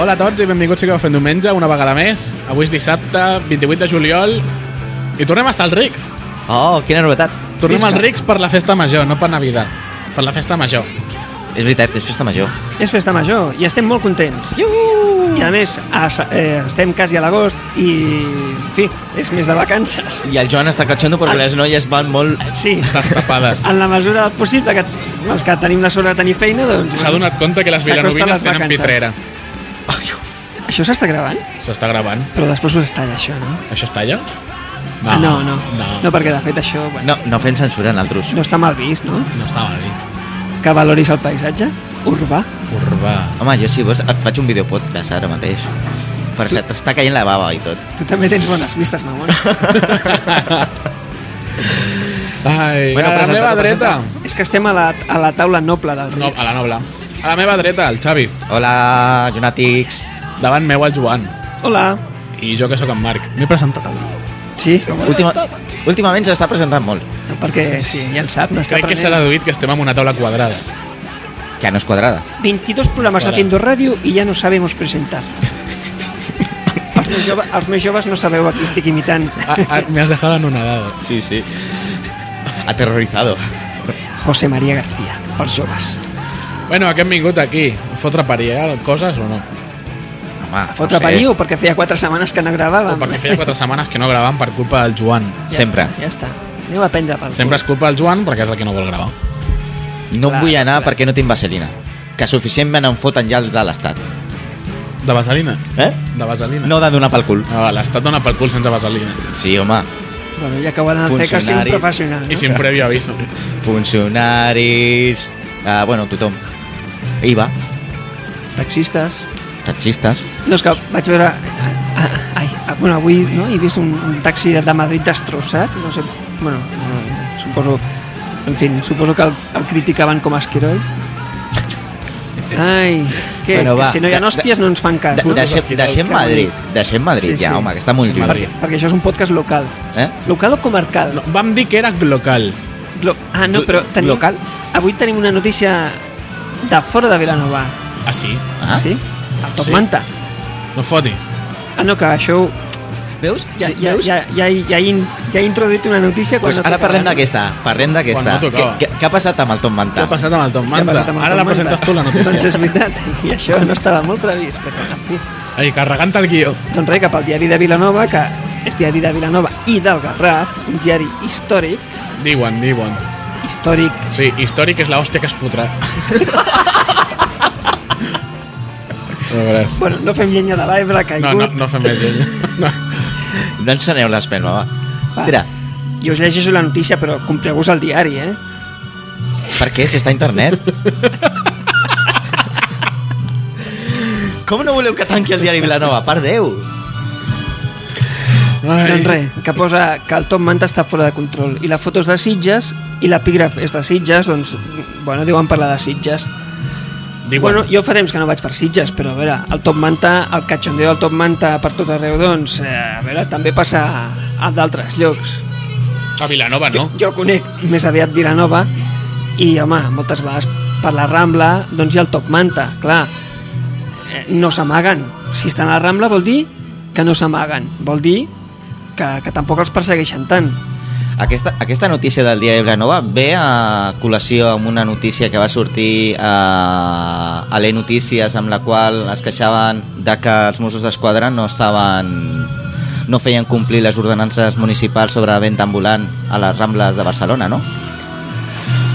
Hola a tots i benvinguts a Fent Diumenge una vegada més. Avui és dissabte, 28 de juliol, i tornem a estar als rics. Oh, quina novetat. Tornem Visca. als rics per la festa major, no per Navidad. Per la festa major. És veritat, és festa major. És festa major i estem molt contents. I a més, a, sa- eh, estem quasi a l'agost i, en fi, és més de vacances. I el Joan està catxondo perquè les noies van molt... Sí, Les tapades. en la mesura del possible que, els que tenim la sort de tenir feina, doncs... S'ha donat compte que les s'acosten vilanovines les tenen vacances. pitrera. Això s'està gravant? S'està gravant. Però després ho es talla, això, no? Ah, Això es talla? no, no. No, no perquè, de fet, això bueno, No, no fent censura en altres. no està mal vist, no? no està mal vist. Que valoris el paisatge urbà. Urbà. Home, jo si vols et faig un videopodcast ara mateix. Per cert, t'està caient la bava i tot. Tu també tens bones vistes, mamona. Ai, Bueno, a la presenta, meva dreta. presenta. és que estem a la, a la taula noble del No, Rips. a la nobla. A la meva dreta, el Xavi. Hola, Jonàtics. Davant meu, el Joan. Hola. I jo, que sóc en Marc. M'he presentat avui. Sí, Última, últimament s'està presentant molt, perquè sí, ja en sap, n'està Crec que s'ha aprenent. deduït que estem en una taula quadrada. que no és quadrada. 22 programas Hola. haciendo radio y ya no sabemos presentar. els, meus joves, els meus joves no sabeu a qui estic imitant. Ah, ah, me has dejado anonadado. Sí, sí. Aterrorizado. José María García, pels joves. Bueno, a què hem vingut aquí? A fotre pariar coses o no? Home, A fotre parir o perquè feia 4 setmanes que no O gravàvem? perquè feia quatre setmanes que no gravàvem per culpa del Joan. Ja Sempre. Està, ja està. Anem a prendre pel Sempre és culpa del Joan perquè és el que no vol gravar. No Clar, em vull anar clar. perquè no tinc vaselina. Que suficientment em foten ja els de l'estat. De vaselina? Eh? De vaselina? Ah, No de donar pel cul. No, l'estat dona pel cul sense vaselina. Sí, home. cul. Bueno, ja que ho ha d'anar a fer, que sigui un Funcionari. professional, I no? sin previo aviso. Funcionaris... Uh, bueno, tothom. IVA, Taxistes. taxistes... No, és que vaig veure... ah, Ai, ah, bueno, avui no? he vist un, un taxi de Madrid destrossat, no sé... Bueno, no, suposo... En fi, suposo que el, el criticaven com a esquiroi. Ai, que, Bueno, bueno, va, que si no hi ha de- hòsties no ens fan cas, De, no? deixem, deixem Madrid, deixem Madrid Sí, ja, sí. home, que està molt lluny. Madrid. Perquè, perquè això és un podcast local. Eh? Local o comarcal? No, vam dir que era local. Lo, ah, no, Lo- però tenim, local? avui tenim una notícia de fora de Vilanova. Ah, sí? Ah? Sí? A Top Sí. Manta. No fotis. Ah, no, que això... ho- Veus? Ja, ja, ja, ja, ja, in- ja he introduït una notícia quan Pues no ara tocava, parlem no? d'aquesta, parlem d'aquesta. Quan no què, tocava. què, què ha passat amb el Tom Què Manta? ha passat amb el Tom Què ha Manta? passat amb el Ara la Tom Manta? presentes tu, la Doncs notícia. és veritat, i això no estava molt previst, però en fi. Ai, carregant el guió. Doncs res, cap al diari de Vilanova, que és diari de Vilanova i del Garraf, un diari històric, Diuen, diuen. històric, Sí, històric és la hòstia que es fotrà. No, veuràs. bueno, no fem llenya de l'Ebre, no, caigut, no, no fem més llenya. No. No enceneu les penes, va. Va. Tira, I us llegeixo la notícia, però compreu-vos el diari, eh? per què? Si està a internet? Com no voleu que tanqui el diari Vilanova? Per Déu! Ai. Doncs res, que posa que el Tom Manta està fora de control i la foto és de Sitges i l'epígraf és de Sitges, doncs, bueno, diuen parlar de Sitges. Diuen, Bueno, jo fa temps que no vaig per Sitges, però a veure, el Top Manta, el catxondeo del Top Manta per tot arreu, doncs, eh, a veure, també passa a d'altres llocs. a Vilanova no. Jo conec més aviat Vilanova i, home, moltes vegades per la Rambla, doncs hi ha el Top Manta, clar, eh, no s'amaguen. Si estan a la Rambla vol dir que no s'amaguen, vol dir que, que tampoc els persegueixen tant. Aquesta, aquesta notícia del diari Vilanova ve a col·lació amb una notícia que va sortir eh, a l'E Notícies amb la qual es queixaven de que els Mossos d'Esquadra no estaven no feien complir les ordenances municipals sobre la venda ambulant a les Rambles de Barcelona, no?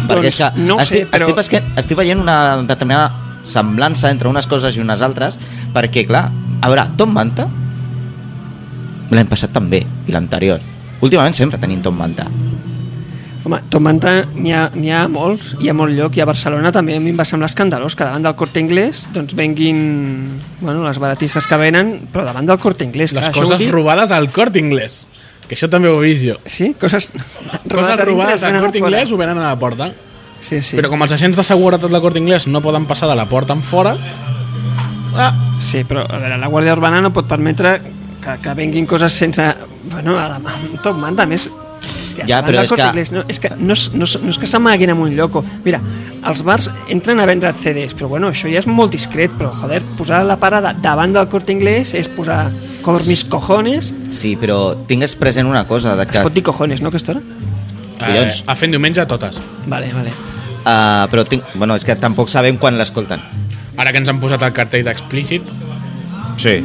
Perquè és que Doncs no ho sé, estic, però- estic, pesque- estic veient una determinada semblança entre unes coses i unes altres perquè, clar, a veure, Tom Manta l'any passat també i l'anterior últimament sempre tenim Tom Manta Home, Top Manta n'hi ha, n'hi ha molts, hi ha molt lloc, i a Barcelona també a mi em va semblar escandalós que davant del Corte Inglés doncs venguin bueno, les baratiges que venen, però davant del Corte Les Inglés. clar, això vol coses dir- robades al Cort Inglés. Que això també ho he vist jo. Sí, coses... Coses a dintre robades es venen al a Cort fora. Inglés ho venen a la porta. Sí. Sí, sí. Però com els agents de seguretat del Cort Inglés no poden passar de la porta en fora... Ah, Sí, però a veure, la Guàrdia Urbana no pot permetre que, que venguin coses sense... Bueno, a la mà, tot manta, a més, Hòstia, Ja, davant però del és Corte que- Inglés, No, és que no, és- no, és- no és que s'amaguin en un lloc. o- Mira, els bars entren a vendre CDs, però bueno, això ja és molt discret, però joder, posar la parada davant del Corte Inglés és posar cover mis cojones, Sí, però tingues present una cosa, de es que, pot dir cojones, no, a aquesta hora? Collons. Eh, a fent diumenge totes. Vale, vale. uh, però tinc, bueno, és que tampoc sabem quan l'escolten. Ara que ens han posat el cartell d'explícit, Sí.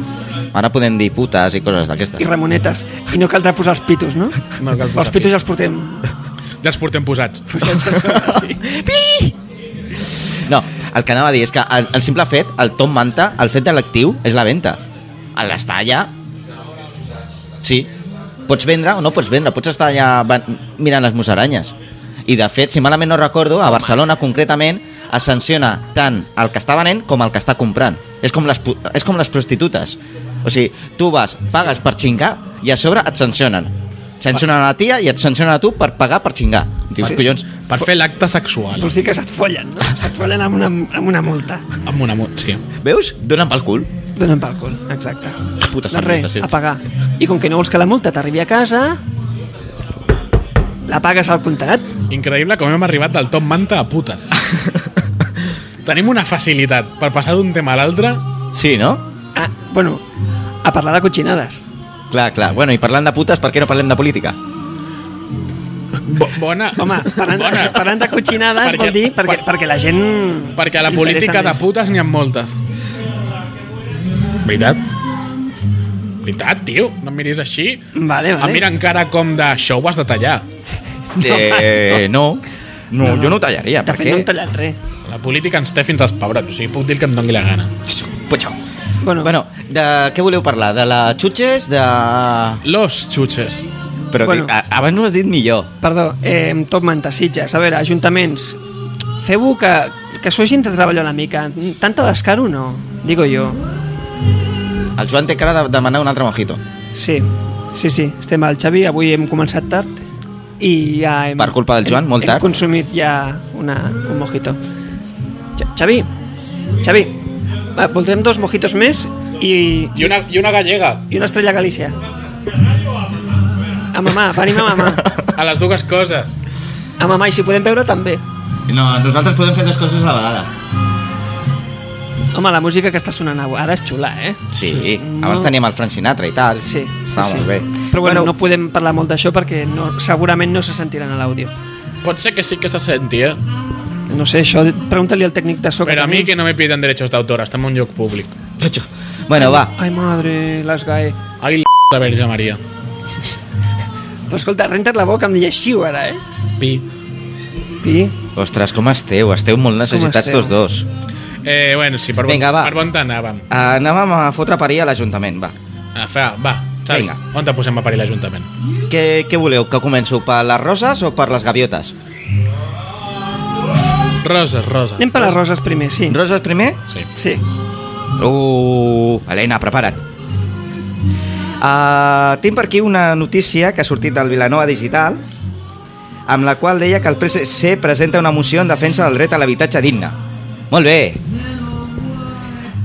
Ara podem dir putes i coses d'aquestes. I ramonetes. I no caldrà posar els pitos, no? No cal posar els pitos pitos. els portem ja els portem posats. pujats a sobre, sí. No, el que anava a dir és que el, el simple fet, el Tom Manta, el fet de l'actiu és la venda. El estar allà... Sí. Pots vendre o no pots vendre, pots estar allà van- mirant les musaranyes. I de fet, si malament no recordo, a Barcelona concretament es sanciona tant el que està venent com el que està comprant. És com les, pu- és com les prostitutes. O sigui, tu vas, pagues per xingar i a sobre et sancionen. Sancionen a la tia i et sancionen a tu per pagar per xingar. Dius, Sí. collons, Per fer l'acte sexual. Vols dir que se't follen, no? Se't follen amb una, amb una multa. Amb una mot, sí. veus? Donen pel cul. Donen pel cul, exacte. Putes doncs res, administracions. a pagar. I com que no vols que la multa t'arribi a casa, la pagues al comptat. Increïble com hem arribat del Tom Manta a putes. Tenim una facilitat per passar d'un tema a l'altre. Sí, no? Ah, bueno, a parlar de cotxinades. Clar, clar. Bueno, i parlant de putes, per què no parlem de política? Bo bona. Home, parlant, bona. de, parlant de cotxinades Perquè- vol dir perquè, per- perquè la gent... Perquè a la li política de interessa més. putes n'hi ha moltes. Veritat? Veritat, tio? No em miris així. Vale, Em vale. Ah, mira encara com de... Això ho has de tallar. Eh, no. No, No, no. jo no ho tallaria. De fet, no hem tallat res. La política ens té fins als pebrots. O sigui, puc dir el que em doni la gana. Potxau. Bueno, Bueno, de què voleu parlar? De la xutxes? De... Los xutxes. Però Bueno. bueno. abans ho has dit millor. Perdó, eh, tot manta, Sitges. A veure, ajuntaments, feu-ho que, que s'ho hagin de treballar una mica. Tanta descaro no, digo jo. El Joan té cara de demanar un altre mojito. Sí, sí, sí, estem al Xavi, avui hem començat tard i ja hem... Per culpa del Joan, hem, molt tard. Hem consumit ja una, un mojito. Xa- Xavi, Xavi, va, voldrem dos mojitos més i, I una, i una gallega. i una estrella Galícia. A mamà, venim a mamà. A les dues coses. A mamà, i si podem veure també. No, nosaltres podem fer dues coses a la vegada. Home, la música que està sonant avui ara és xula, eh? Sí, No. abans teníem el Frank Sinatra i tal. Sí, sí, Estava sí. molt bé. Però bueno, bueno, no podem parlar molt d'això perquè no, segurament no se sentiran a l'àudio. Pot ser que sí que se eh? sentia. No sé, això pregunta-li al tècnic de so Però a mi tenim. que no me piden derechos d'autor, estem en un lloc públic. Bueno, va. Ai, madre, les gai. Ai, la de Verge Maria. Però escolta, renta't la boca amb lleixiu ara, eh? Pi. Pi. Ostres, com esteu? Esteu molt necessitats esteu? tots dos. Eh, bueno, sí, per, Vinga, va. bon, per bon tant anàvem. Uh, anàvem a fotre parir a l'Ajuntament, va. Ah, fa, va, Xavi, Vinga. on te posem a parir l'Ajuntament? Què, què voleu? Que començo per les roses o per les gaviotes? Roses, roses. Anem per les roses primer, sí. Roses primer? Sí. Sí. Uh, Helena, prepara't. Uh, tinc per aquí una notícia que ha sortit del Vilanova Digital amb la qual deia que el PSC presenta una moció en defensa del dret a l'habitatge digne. Molt bé.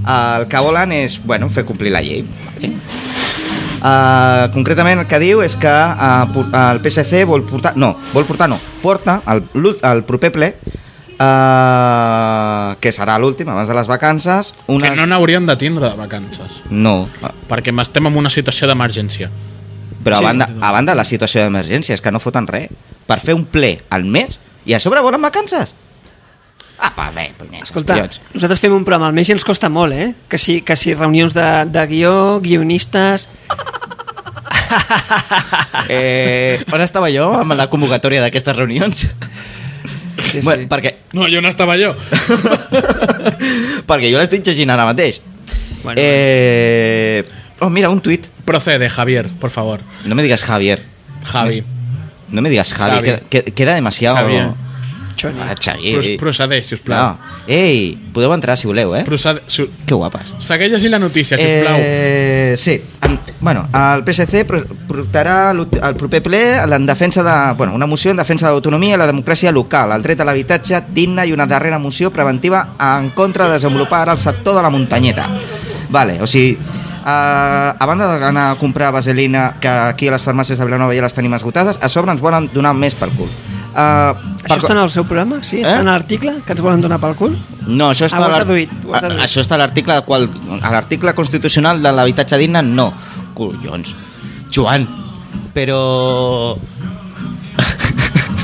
El que volen és bueno, fer complir la llei. Vale. Uh, concretament el que diu és que uh, por- el PSC vol portar... No, vol portar no, porta al, l'ú- al proper ple uh, que serà l'últim abans de les vacances Que unes... no n'haurien de tindre de vacances. No, Perquè estem en una situació d'emergència. però Sí. a, banda, a banda de la situació d'emergència, és que no foten res. Per fer un ple al mes i a sobre volen vacances. Apa, bé, punyet. Escolta, nosaltres fem un programa al mes i ens costa molt, eh? Que si, que si reunions de, de guió, guionistes... Eh, on estava jo amb la convocatòria d'aquestes reunions? Sí, sí. Bueno, perquè, No, jo no estava jo. perquè jo l'estic llegint ara mateix. Bueno, eh, oh, mira, un tuit. Procede, Javier, por favor. No me digas Javier. Javi. No me digas Javi. Xavi. Queda, que- queda demasiado... Xavier. Xoni. Ah, Xavi. Pro procede, sisplau. No. Ei, podeu entrar si voleu, eh? Procede, si... Que guapes. Segueix així la notícia, sisplau. Eh, sí. Em- Bueno, el PSC pro- portarà l'ut- al proper ple en defensa de, bueno, una moció en defensa de l'autonomia i la democràcia local, el dret a l'habitatge digne i una darrera moció preventiva en contra de desenvolupar ara el sector de la muntanyeta. Vale, o sigui, eh, a banda d'anar a comprar vaselina, que aquí a les farmàcies de Vilanova ja les tenim esgotades, a sobre ens volen donar més per cul. Eh, per Això està en el seu programa? Eh? Sí? Està en l'article que ens volen donar pel cul? No, això està, Ah, a ho has l'ar- deduït, ho has a- deduït. això està a l'article de qual... a l'article constitucional de l'habitatge digne, no. Collons. Joan, però...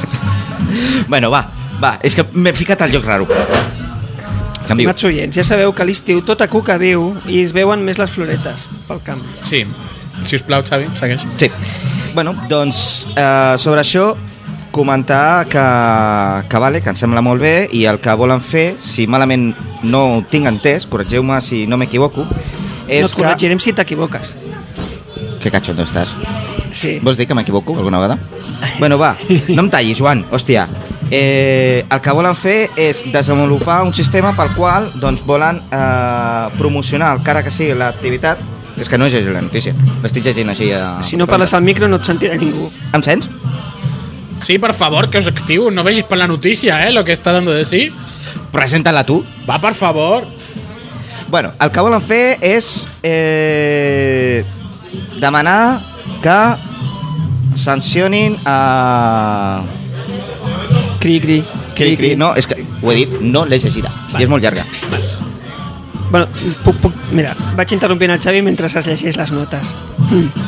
bueno, va, va, és que m'he ficat al lloc raro. Em diu, Estimats oients, ja sabeu que a l'estiu tota cuca viu i es veuen més les floretes pel camp. Sí. Si us plau, Xavi, segueix. Sí. Bueno, doncs eh, sobre això comentar que, que vale, que em sembla molt bé i el que volen fer, si malament no ho tinc entès, corregeu-me si no m'equivoco, És no és et que... corregirem si t'equivoques. Que cachondo estàs. Sí. Vols dir que m'equivoco alguna vegada? Bueno, va, no em tallis, Joan, hòstia. Eh, el que volen fer és desenvolupar un sistema pel qual doncs, volen eh, promocionar, encara que sigui l'activitat, és que no és la notícia, l'estic llegint així. A... Si no parles al micro no et sentirà ningú. Em sents? Sí, por favor, que os activo. No veis por la noticia, ¿eh? Lo que está dando de sí. Presenta-la tu. Va, por favor. Bueno, el que volen fer és eh, demanar que sancionin a... Cri, cri. Cri, cri. No, és que ho he dit, no l'he llegida. I és molt llarga. Bueno, puc, puc, mira, vaig interrompint el Xavi mentre es llegeix les notes. Mm.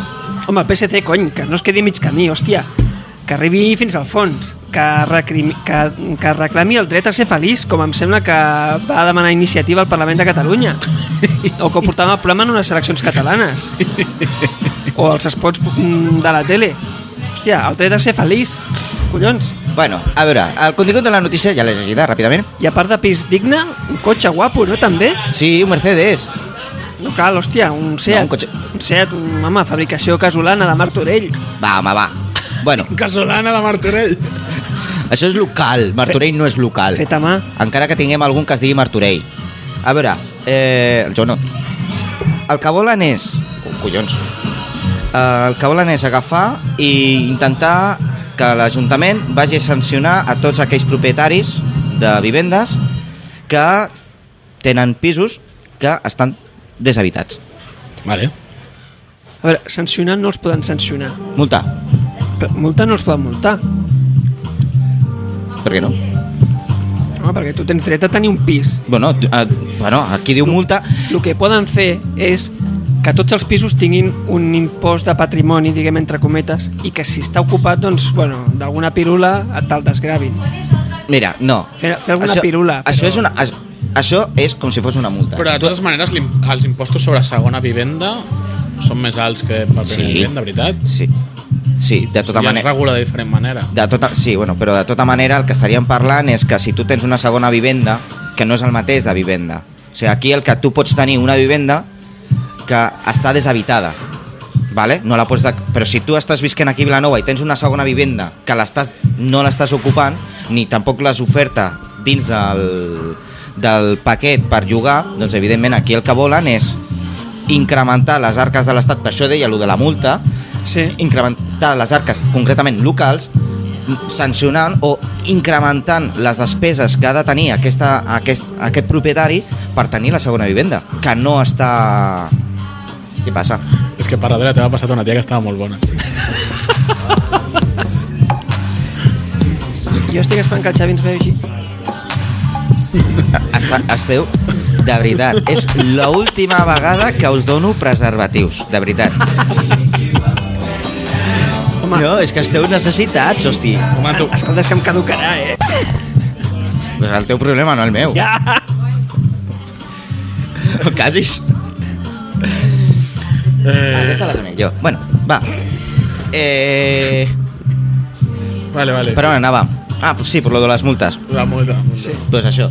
Home, el PSC, cony, que no es quedi mig camí, hòstia. Que arribi fins al fons, que, recrim, que, que reclami el dret a ser feliç, com em sembla que va demanar iniciativa al Parlament de Catalunya. O que ho portava el programa en unes eleccions catalanes. O els espots mm, de la tele. Hòstia, el dret a ser feliç. Collons. Bueno, a veure, el contingut de la notícia ja l'he llegida ràpidament. I a part de pis digne, un cotxe guapo, no, també? Sí, un Mercedes. No cal, hòstia, un Seat. No, un cotxe. Un Seat, un, home, fabricació casolana de Martorell. Va, home, va. Bueno, Casolana de Martorell. això és local. Martorell no és local. Fet a mà. Encara que tinguem algun que es digui Martorell. A veure, eh, el Joan no. El que volen és... Oh, collons. Eh, el que volen és agafar i intentar que l'Ajuntament vagi a sancionar a tots aquells propietaris de vivendes que tenen pisos que estan deshabitats. Vale. A veure, sancionar no els poden sancionar. Multa, Però multar no els poden multar. per què no? Home, perquè tu tens dret a tenir un pis. Bueno, t- eh, bueno aquí diu multa, El que poden fer és que tots els pisos tinguin un impost de patrimoni, diguem, entre cometes, i que si està ocupat, doncs, bueno, d'alguna pirula et te'l desgravin. Mira, no. Fer- fer alguna pirula, Això però- és una... Això, això és com si fos una multa. Però de totes maneres, l'im- els impostos sobre segona vivenda són més alts que per primera Sí. vivenda, de veritat. Sí, sí de tota I es manera... regula de diferent manera. De tota, sí, bueno, però de tota manera el que estaríem parlant és que si tu tens una segona vivenda, que no és el mateix de vivenda. O sigui, aquí el que tu pots tenir una vivenda que està deshabitada, vale? no la pots de... però si tu estàs visquent aquí a Vilanova i tens una segona vivenda que l'estàs no l'estàs ocupant, ni tampoc l'has oferta dins del, del paquet per llogar, doncs evidentment aquí el que volen és incrementar les arques de l'Estat, per això deia allò de la multa, Sí. incrementar les arques, concretament locals, sancionant o incrementant les despeses que ha de tenir aquesta, aquest, aquest propietari per tenir la segona vivenda, que no està... Què passa? És que per darrere t'ha passat una tia que estava molt bona. Jo estic esperant que el Xavi ens veu així. Està, esteu... De veritat, és l'última vegada que us dono preservatius, de veritat. Home, No, és que esteu necessitats, hosti. Home, Ah, tu, Ah, escolta, és que em caducarà, eh? Doncs el teu problema, no el meu. Ja! No casis. eh, Aquesta la conec jo. Bueno, va. Eh... vale, vale. Per on anava? Ah, pues sí, per lo de les multes. La multa. la multa. Sí. Doncs això,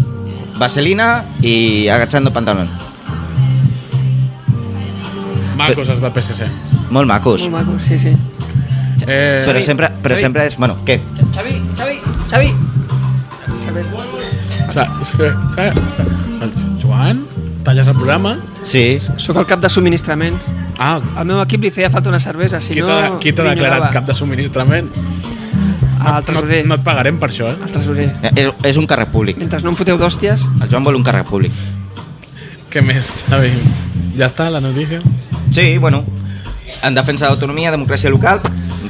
vaselina i agachando pantalón. Macos, els del PSC. Molt macos. Molt maco, sí, sí. Eh, Però sempre, però Xavi. sempre és... Bueno, què? Xavi, Xavi, Xavi! Sabes sa- sa- sa- sa- Joan, talles el programa. Sí. Sóc el cap de subministraments. Ah, Al meu equip li feia falta una cervesa, si qui no... t'ha qui t'ha declarat cap de subministrament? Al No, tresorer. no et pagarem per això, eh? Al tresorer. És, és un carrer públic. Mentre no em foteu d'hòsties... El Joan vol un carrer públic. Què més, Xavi? Ja està, la notícia? Sí, bueno, en defensa de l'autonomia, democràcia local,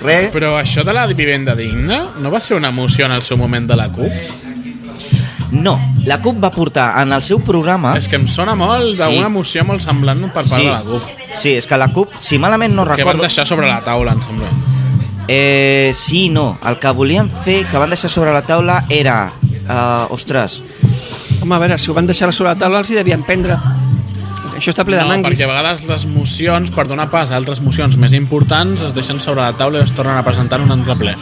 res... Però això de la vivenda digna no va ser una moció en el seu moment de la CUP? No, la CUP va portar en el seu programa... És que em sona molt d'una Ah. Sí. moció molt semblant per part de la CUP. sí, és que la CUP, si malament no Que van recordo... deixar sobre la taula, em sembla. Eh, sí, i no, el que volien fer, que van deixar sobre la taula, era... Eh, ostres, Home, a veure, si ho van deixar sobre la taula els hi devien prendre. Això està ple de no, manguis. perquè a vegades les mocions, per donar pas a altres mocions més importants, es deixen sobre la taula i es tornen a presentar en un altre ple.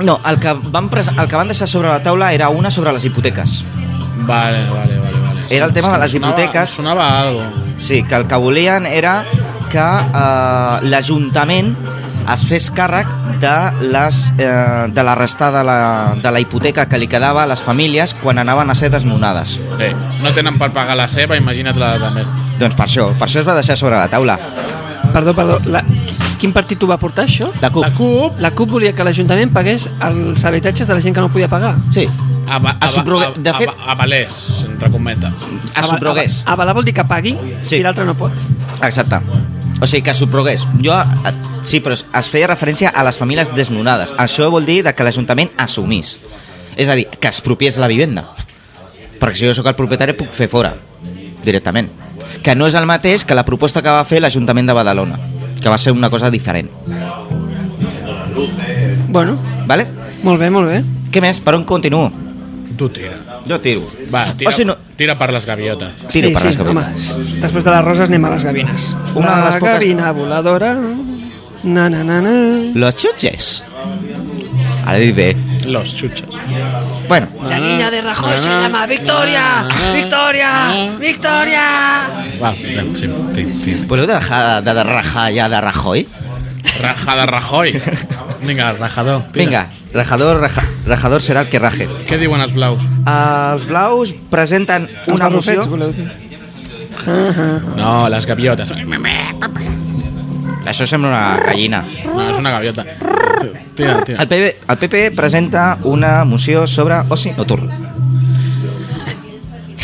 No, el que, van pres... el que van deixar sobre la taula era una sobre les hipoteques. Vale, vale, vale. vale. Era el tema Em de les sonava- hipoteques. em Sonava, a algo. Sí, que el que volien era que eh, l'Ajuntament es fes càrrec de, les, eh, de la resta de la, de la hipoteca que li quedava a les famílies quan anaven a ser desnonades. Sí, no tenen per pagar la seva, imagina't la de més. Doncs per això, per això es va deixar sobre la taula. Perdó, perdó. La... qui- Quin partit ho va portar, això? La CUP. La CUP La CUP volia que l'Ajuntament pagués els habitatges de la gent que no podia pagar. Sí, a, a, A a, subroga- de a, fet- a, a Valés, entre cometes. es Ava- subrogués. ava- Avalar vol dir que pagui Sí. si l'altre no pot. Ah, Exacte. O sigui, que es subrogués. Jo, eh, sí, però es feia referència a les famílies desnonades. Això vol dir de que l'Ajuntament assumís. És a dir, que expropiés la vivenda. Perquè si jo sóc el propietari puc fer fora, directament. Que no és el mateix que la proposta que va fer l'Ajuntament de Badalona, que va ser una cosa diferent. Bueno, Vale? molt bé, molt bé. Què més? Per on continuo? Tu tira. Jo tiro. Va, tira, O sigui, no- tira per les gaviotes. Tiro sí, per les sí, gavines. Home, després de les roses anem a les gavines. Una de la les poques- gavina voladora... Na, na, na, na. Los chuches. Ara he dit bé. Los chuches. Bueno, La niña de Rajoy se llama Victoria. Victoria. Victoria. Va, anem, sí, sí, sí. podeu deixar de, de rajar ja de Rajoy? Raja de Rajoy. Vinga, rajador. Tira. Vinga, rajador, raja, rajador serà el que raje. Què diuen els blaus? Els blaus presenten una Els barrufets, moció... voleu dir. No, les gaviotes. Això sembla una gallina. No, és una gaviota. Tira, tira. El PP, el PP presenta una moció sobre oci nocturn.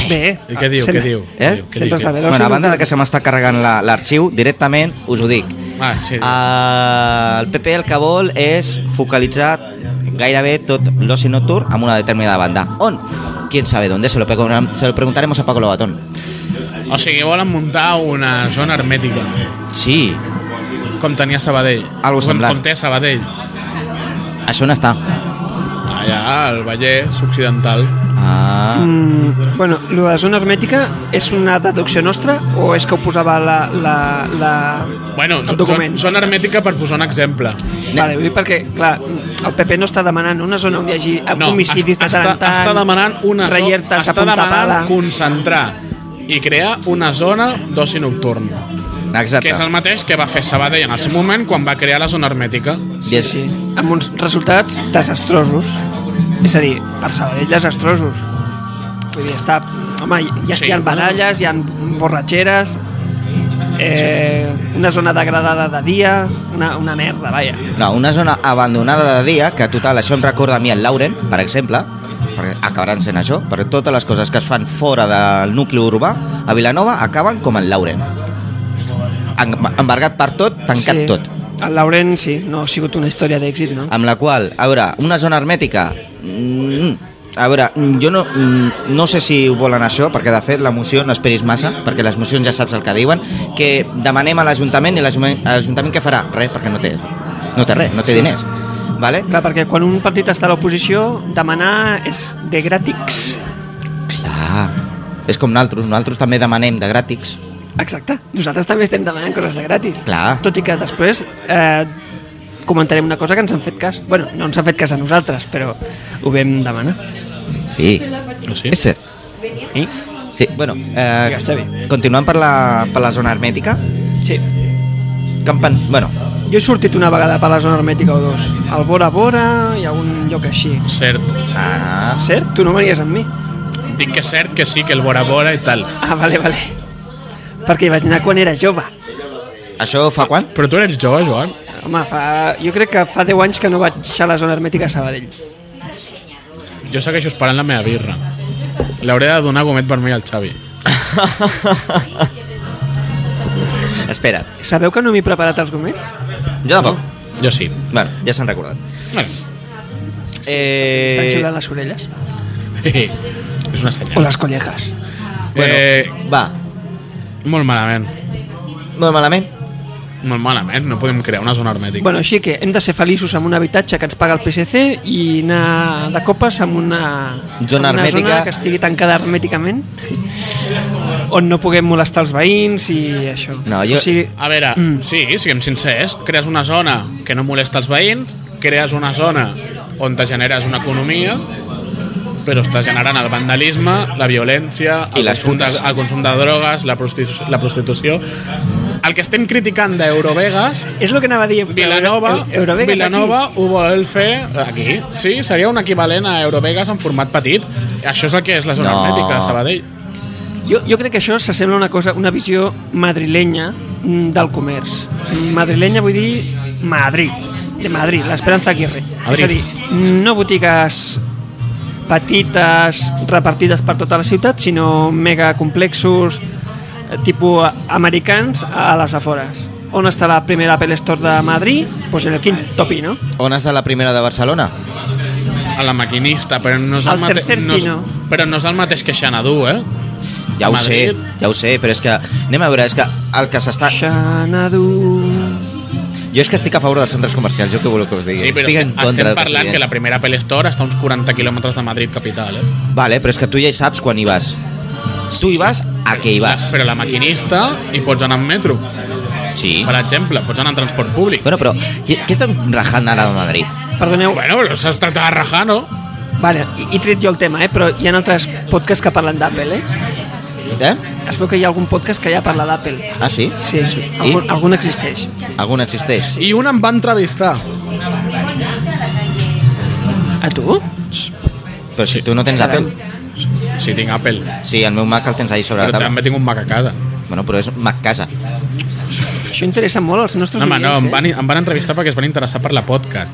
Bé. I què diu, Sempre- què diu? Què Eh? diu, què Sempre diu, està què bé. diu? Bueno, l'oci a nocturn. banda de que se m'està carregant la- l'arxiu, directament us ho dic. Ah, sí. Eh, El PP el que vol és focalitzar gairebé tot l'oci nocturn en una determinada banda. On? Quién sabe dónde, se lo, pregun- se lo preguntaremos a Paco Lobatón. O sigui, volen muntar una zona hermètica, Sí, com tenia Sabadell. Algo com, semblant. com té Sabadell. això on està? Allà, al Vallès Occidental. Ah... Mm, bueno, lo de la zona hermètica és una deducció nostra o és que ho posava la... la, la... Bueno, el document? zona, zona hermètica per posar un exemple. Vale, vull dir perquè, clar, el PP no està demanant una zona on hi hagi homicidis de està, tant en està, tant, està demanant una zona, rellertes a està punta pala... demanant concentrar i crear una zona d'oci nocturn. Exacte. Que és el mateix que va fer Sabadell en el seu moment quan va crear la zona hermètica. Sí, Sí, amb uns resultats desastrosos. És a dir, per Sabadell desastrosos. Vull dir, està... Home, hi, ha, Sí. hi ha baralles, hi ha borratxeres, eh, una zona degradada de dia, una, una merda, vaja. No, una zona abandonada de dia, que total, això em recorda a mi el Lauren, per exemple, perquè acabaran sent això, perquè totes les coses que es fan fora del nucli urbà, a Vilanova acaben com el Lauren. En- Embargat per tot, tancat sí. sí. tot. El Laurent, sí, no ha sigut una història d'èxit, no? Amb la qual, a veure, una zona hermètica... Mm, a veure, mm, jo no, mm, no sé si ho volen això, perquè de fet la moció no esperis massa, perquè les mocions ja saps el que diuen, que demanem a l'Ajuntament i l'Ajuntament l'Ajuntament què farà? Res, perquè no té, no té res, no té diners. Vale? Clar, perquè quan un partit està a l'oposició, demanar és de gràtics. Clar, Ah, és com nosaltres, nosaltres també demanem de gràtics. Exacte. Nosaltres també estem demanant coses de gratis. Clar. Tot i que després eh, comentarem una cosa que ens han fet cas. bueno, no ens han fet cas a nosaltres, però ho vam demanar. Sí, Ah, Sí? és cert. Sí? Sí, bueno, eh, Digues, Xavi. continuant per la, per la zona hermètica, sí. que em pen... bueno, Jo he sortit una vegada per la zona hermètica o dos. Al Bora Bora i algun lloc així. Cert. ah, Cert? Tu no venies amb mi? Dic que és cert que sí, que el Bora Bora i tal. Ah, vale, vale. Perquè hi vaig anar quan era jove. això fa quan? Però tu eres jove, Joan. Home, fa... jo crec que fa 10 anys que no vaig a la zona hermètica a Sabadell. Jo segueixo esperant la meva birra. L'hauré de donar gomet vermell al Xavi. És Espera, Sabeu que no m'he preparat els arguments? jo tampoc. Jo sí. Bueno, ja s'han recordat. Bueno. Estan Eh, xulant les orelles? És una senyal. O les collejas? bueno, Eh, va, molt malament. molt malament. Molt malament. No podem crear una zona hermètica. Bueno, així que hem de ser feliços amb un habitatge que ens paga el PSC i anar de copes amb una Zona amb una hermètica. zona que estigui tancada hermèticament on no puguem molestar els veïns i això. No, jo- O sigui, A veure, mm. sí, siguem sincers, crees una zona que no molesta els veïns, crees una zona on te generes una economia, però estàs generant el vandalisme, la violència, I el, les consum de, putes. el consum de drogues, la, prostitu la prostitució... El que estem criticant d'Eurovegas, és el que anava a dir. Vilanova, Eu- Eurovegas aquí. Vilanova ho vol fer aquí. Sí, seria un equivalent a Eurovegas en format petit. Això és el que és la zona No. hermètica de Sabadell. Jo, jo crec que això s'assembla a una cosa, una visió madrilenya mm, del comerç. Mm, Madrilenya vull dir Madrid, de Madrid, l'Esperanza Aguirre. Madrid. És a dir, no botigues petites, repartides per tota la ciutat, sinó mega complexos, eh, tipus americans, a les afores. On està la primera Apple Store de Madrid? Pues en el Quim Topi, no? On està la primera de Barcelona? A la maquinista, però no és el, Al mate- tercer no és, pino. però no és el mateix que Xanadu, eh? Ja ho Madrid. sé, ja ho sé, però és que anem a veure, és que el que s'està... Xanadu... Jo és que estic a favor dels centres comercials, jo què voleu que us digui? Sí, però estic estem, en contra estem del parlant president. que la primera Apple Store està a uns 40 quilòmetres de Madrid capital, eh? Vale, però és que tu ja hi saps quan hi vas. Tu hi vas a què hi vas. Però la maquinista hi pots anar amb metro, Sí. per exemple, pots anar en transport públic. Bueno, però què, què estem rajant ara de Madrid? Perdoneu, Bueno, però s'ha estat a rajar, no? vale, i, i tret jo el tema, eh? però hi ha altres podcasts que parlen d'Apple, eh? Eh? Es veu que hi ha algun podcast que ja parla d'Apple. Ah, sí? Sí, sí. I? Algun, algun existeix. Algun existeix? I un em va entrevistar. A tu? Però si tu no tens Caram. Apple. Sí, tinc Apple. Sí, el meu Mac el tens ahí sobre Però la taula. també tinc un Mac a casa. Bueno, però és Mac casa. Això interessa molt als nostres No, home, no, em eh? oients, eh? van, em van entrevistar perquè es van interessar per la podcast.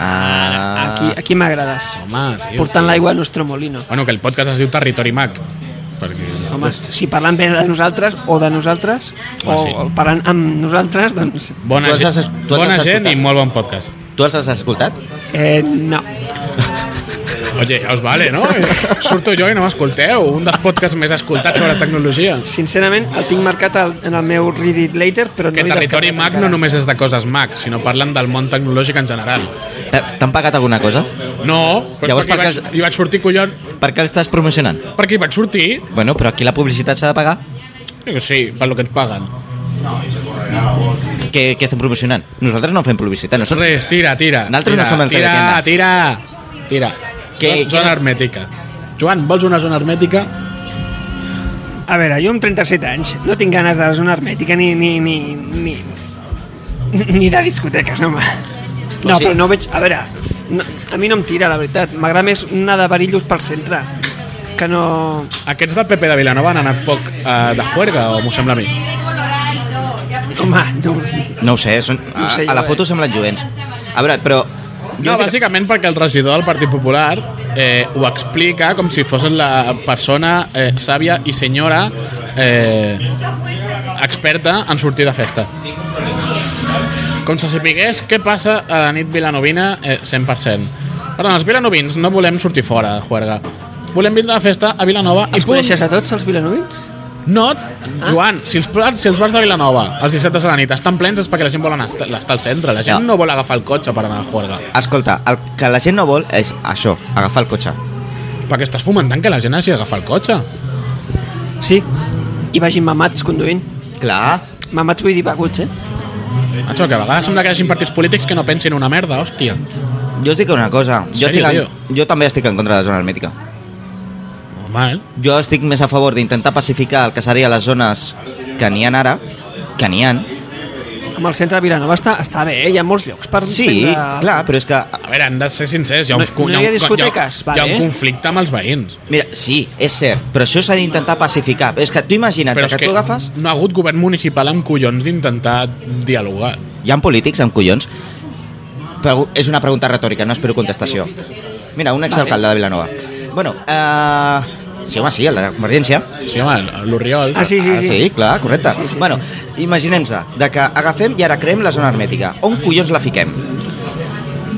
Ah, Aquí, aquí m'agrades. Home, tio. Portant l'aigua al nostre molino. Bueno, que el podcast es diu Territori Mac. Perquè... Home, si parlen bé de nosaltres o de nosaltres, o, Ah, sí. o parlen amb nosaltres, doncs... Bona, Tu has gent, es- tu has bona gent escoltat? i molt bon podcast. Tu els has escoltat? Eh, no. Oye, ja us vale, no? Surto jo i no m'escolteu. Un dels podcasts més escoltats sobre tecnologia. Sincerament, el tinc marcat al, en el meu Read It Later, però Que no l'he territori descarregat Mac encara. no només és de coses Mac, sinó parlen del món tecnològic en general. T'ha- T'han pagat alguna cosa? No, però Llavors, Llavors, perquè per hi vaig, cas- hi vaig sortir, collons, Per què l'estàs promocionant? perquè hi vaig sortir, Bueno, però aquí la publicitat s'ha de pagar. Dic, sí, per lo que ens paguen. Què, què estem promocionant? Nosaltres no fem publicitat. Nosaltres... Res, tira, tira. Nosaltres tira, no som el Tira, Teletienda. tira, tira. Què- Zona- zona quina- hermètica. Joan, vols una zona hermètica? A veure, jo amb 37 anys no tinc ganes de la zona hermètica ni, ni, ni, ni, ni de discoteques, home. No, sí. però no veig... A veure, no, a mi no em tira, la veritat. M'agrada més una de varillos pel centre, que no... Aquests del PP de Vilanova han anat poc eh, de juerga, o m'ho sembla a mi? Home, no... No ho sé, són, a, No ho sé jo, a la eh. foto semblen jovents. A veure, però... No, sé que- bàsicament perquè el regidor del Partit Popular eh, ho explica com si fos la persona eh, sàvia i senyora eh, experta en sortir de festa. Com si sapigués què passa a la nit vilanovina eh, 100%. Perdó, els vilanovins no volem sortir fora de juerga. Volem vindre a la festa a Vilanova i Els punt. coneixes a tots, els vilanovins? No, Joan, si els, bars- si els bars de Vilanova els dissabtes a la nit estan plens és perquè la gent vol anar a estar estar al centre. La gent Ja. no vol agafar el cotxe per anar a juerga. Escolta, el que la gent no vol és això, agafar el cotxe. Perquè estàs fomentant que la gent hagi d'agafar el cotxe. Sí. I vagin mamats conduint. Clar. Mamats vull dir beguts, eh? Això, que a vegades sembla que hi hagi partits polítics que no pensin una merda, hòstia. Jo us dic una cosa. Jo, Sèrio, estic en, jo també estic en contra de la zona hermètica. Normal. Jo estic més a favor d'intentar pacificar el que seria les zones que n'hi ha ara, que n'hi ha. Amb el centre de Vilanova està, està bé, eh? Hi ha molts llocs per... Sí, prendre- clar, però és que... A veure, hem de ser sincers, hi ha un, No- no hi ha discoteques, hi ha, hi ha vale. un conflicte amb els veïns. Mira, sí, és cert, però això s'ha d'intentar pacificar. És que tu imagina't Però que, és que tu agafes... no ha hagut govern municipal amb collons d'intentar dialogar. Hi ha polítics amb collons? Però és una pregunta retòrica, no espero contestació. Mira, un exalcalde de Vilanova. Bueno, eh, Sí, home, sí, el de Convergència. Sí, home, l'Oriol. Ah, sí, sí, Ah, sí. sí, clar, correcte. Bueno, imaginem-se de que agafem i ara creem la zona hermètica. On collons la fiquem?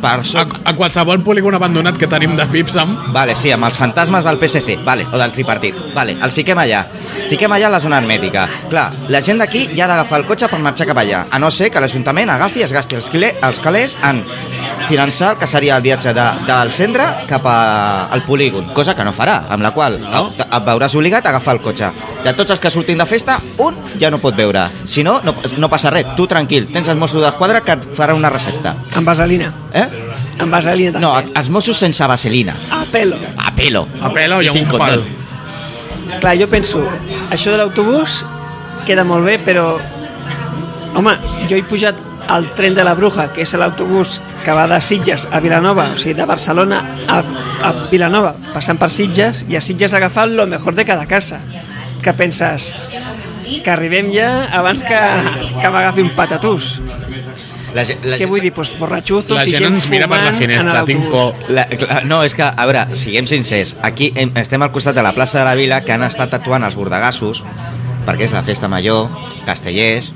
Per A, sota... a qualsevol polígon abandonat que tenim de Pipsam, Vale, sí, amb els fantasmes del PSC, vale, o del tripartit. Vale, els fiquem allà. Fiquem allà a la zona hermètica. Clar, la gent d'aquí ja ha d'agafar el cotxe per marxar cap allà, a no ser que l'Ajuntament agafi i es gasti els, cle- els calés en finançar el que seria el viatge de, del centre cap a, al polígon, cosa que no farà, amb la qual No. et, et veuràs obligat a agafar el cotxe. De tots els que surtin de festa, un ja no pot veure. Si no, no, no passa res, tu tranquil, tens els Mossos d'Esquadra que et farà una recepta. Amb vaselina. Eh? Amb vaselina també. No, els Mossos sense vaselina. A pelo. A pelo. a pelo hi ha I sin un pal. condón. Clar, jo penso, això de l'autobús queda molt bé, però... Home, jo he pujat al tren de la Bruja, que és l'autobús que va de Sitges a Vilanova, o sigui, de Barcelona a, a Vilanova, passant per Sitges, i a Sitges agafant lo mejor de cada casa. Que penses que arribem ja abans que, que m'agafi un patatús. La, ge- la Què gent- vull dir? Pues borratxuzos La i gent gent ens mira per la fumant en finestra, tinc l'autobús. por. La, clar, no, és que, a veure, siguem sincers, aquí hem, estem al costat de la plaça de la Vila que han estat actuant els bordegassos, perquè és la festa major, castellers,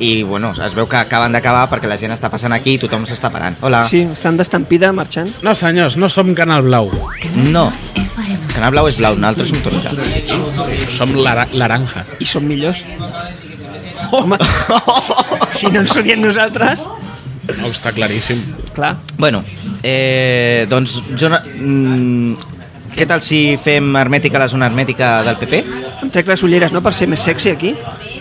i bueno, es veu que acaben d'acabar perquè la gent està passant aquí i tothom s'està parant. Hola. Sí, estan d'estampida marxant. No, senyors, no som Canal Blau. No, FM. Canal Blau és blau, nosaltres som taronja. Som lara- laranjas. i som millors. Oh! Home, si no ens odien nosaltres... No, està claríssim. Clar, Bueno, eh, doncs jo... no- Mm, què tal si fem hermètica la zona hermètica del PP? em trec les ulleres, no?, per ser més sexy aquí.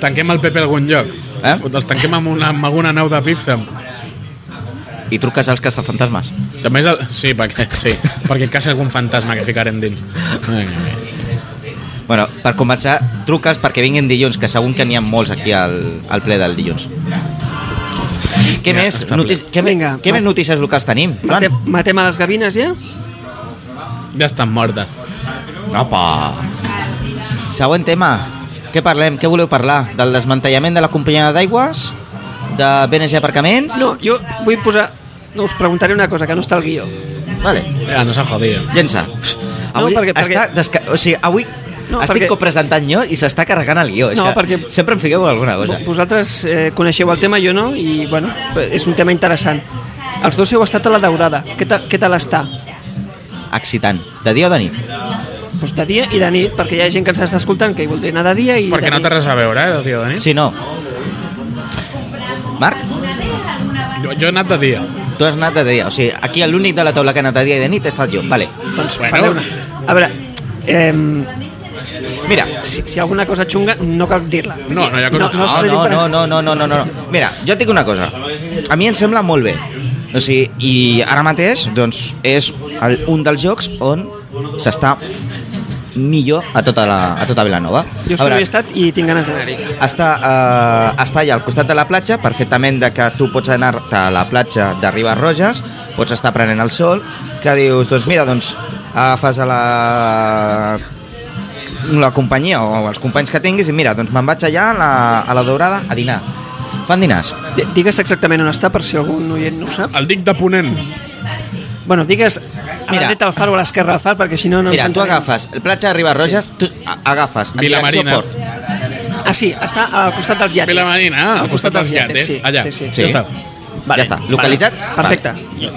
Tanquem el PP a algun lloc. Eh? Eh? Els tanquem amb, una, amb alguna nau de Pipsam. I truques als castafantasmes. I A més, el... sí, perquè, sí, perquè en cas hi ha algun fantasma que ficarem dins. Ai, ai, ai. Bueno, per començar, truques perquè vinguin dilluns, que segur que n'hi ha molts aquí al, al ple del dilluns. Què Ja, més? està Notic... Què, Vinga, Vinga, què va. més notícies locals tenim? Joan? Matem, matem a les gavines, ja? Ja estan mortes. Apa! Següent tema. Què parlem? Què voleu parlar? Del desmantellament de la companyia d'aigües? De BNG Aparcaments? No, jo vull posar... No, us preguntaré una cosa, que no està al guió. Vale, Ja, no s'ha jodido. llença. Avui, perquè- perquè- està desca... o sigui, avui No, estic perquè- copresentant jo i s'està carregant el guió. És No, que perquè- Sempre em fiqueu alguna cosa. Vo- Vosaltres eh, coneixeu el tema, jo no, i, bueno, és un tema interessant. Els dos heu estat a la daurada. Què tal, què tal està? Excitant. De dia o de nit? Pues de dia i de nit, perquè hi ha gent que ens està escoltant que hi voldria anar de dia i Perquè de no té nit. res a veure, eh, tio Dani? Sí, no. Marc, Jo, jo he anat de dia. tu has anat de dia. O sigui, aquí l'únic de la taula que ha anat de dia i de nit he estat jo. Vale. Doncs, Bueno. bueno. A veure, eh, Mira, si, si hi ha alguna cosa xunga, no cal dir-la. No, no hi ha cosa es no, pot dir no, per- no, no, no, no, no, no. Mira, jo et dic una cosa. A mi em sembla molt bé. O sigui, i ara mateix, doncs, és el, un dels jocs on s'està millor a tota, la, a tota Vilanova. Jo A solo veure, hi he estat i tinc ganes d'anar-hi. està, eh, està allà al costat de la platja, perfectament de que tu pots anar a la platja de Ribes Roges, pots estar prenent el sol, que dius, doncs mira, doncs agafes a la la companyia o els companys que tinguis i mira, doncs me'n vaig allà a la, a la Daurada a dinar. Fan dinars. D- Digues exactament on està, per si algun oient no ho sap. El dic de Ponent. Bueno, digues a Mira. la dreta del far o a l'esquerra del far, perquè si no... no ens Mira, tu entenem. agafes el platja de Ribes Roges, tu a- agafes en Vilamarina. direcció Port. Ah, sí, està al costat dels iates. Pela Marina, ah, al costat dels iates. Sí, Allà. Sí, sí. Ja Sí. està. Ja està, localitzat? Perfecte.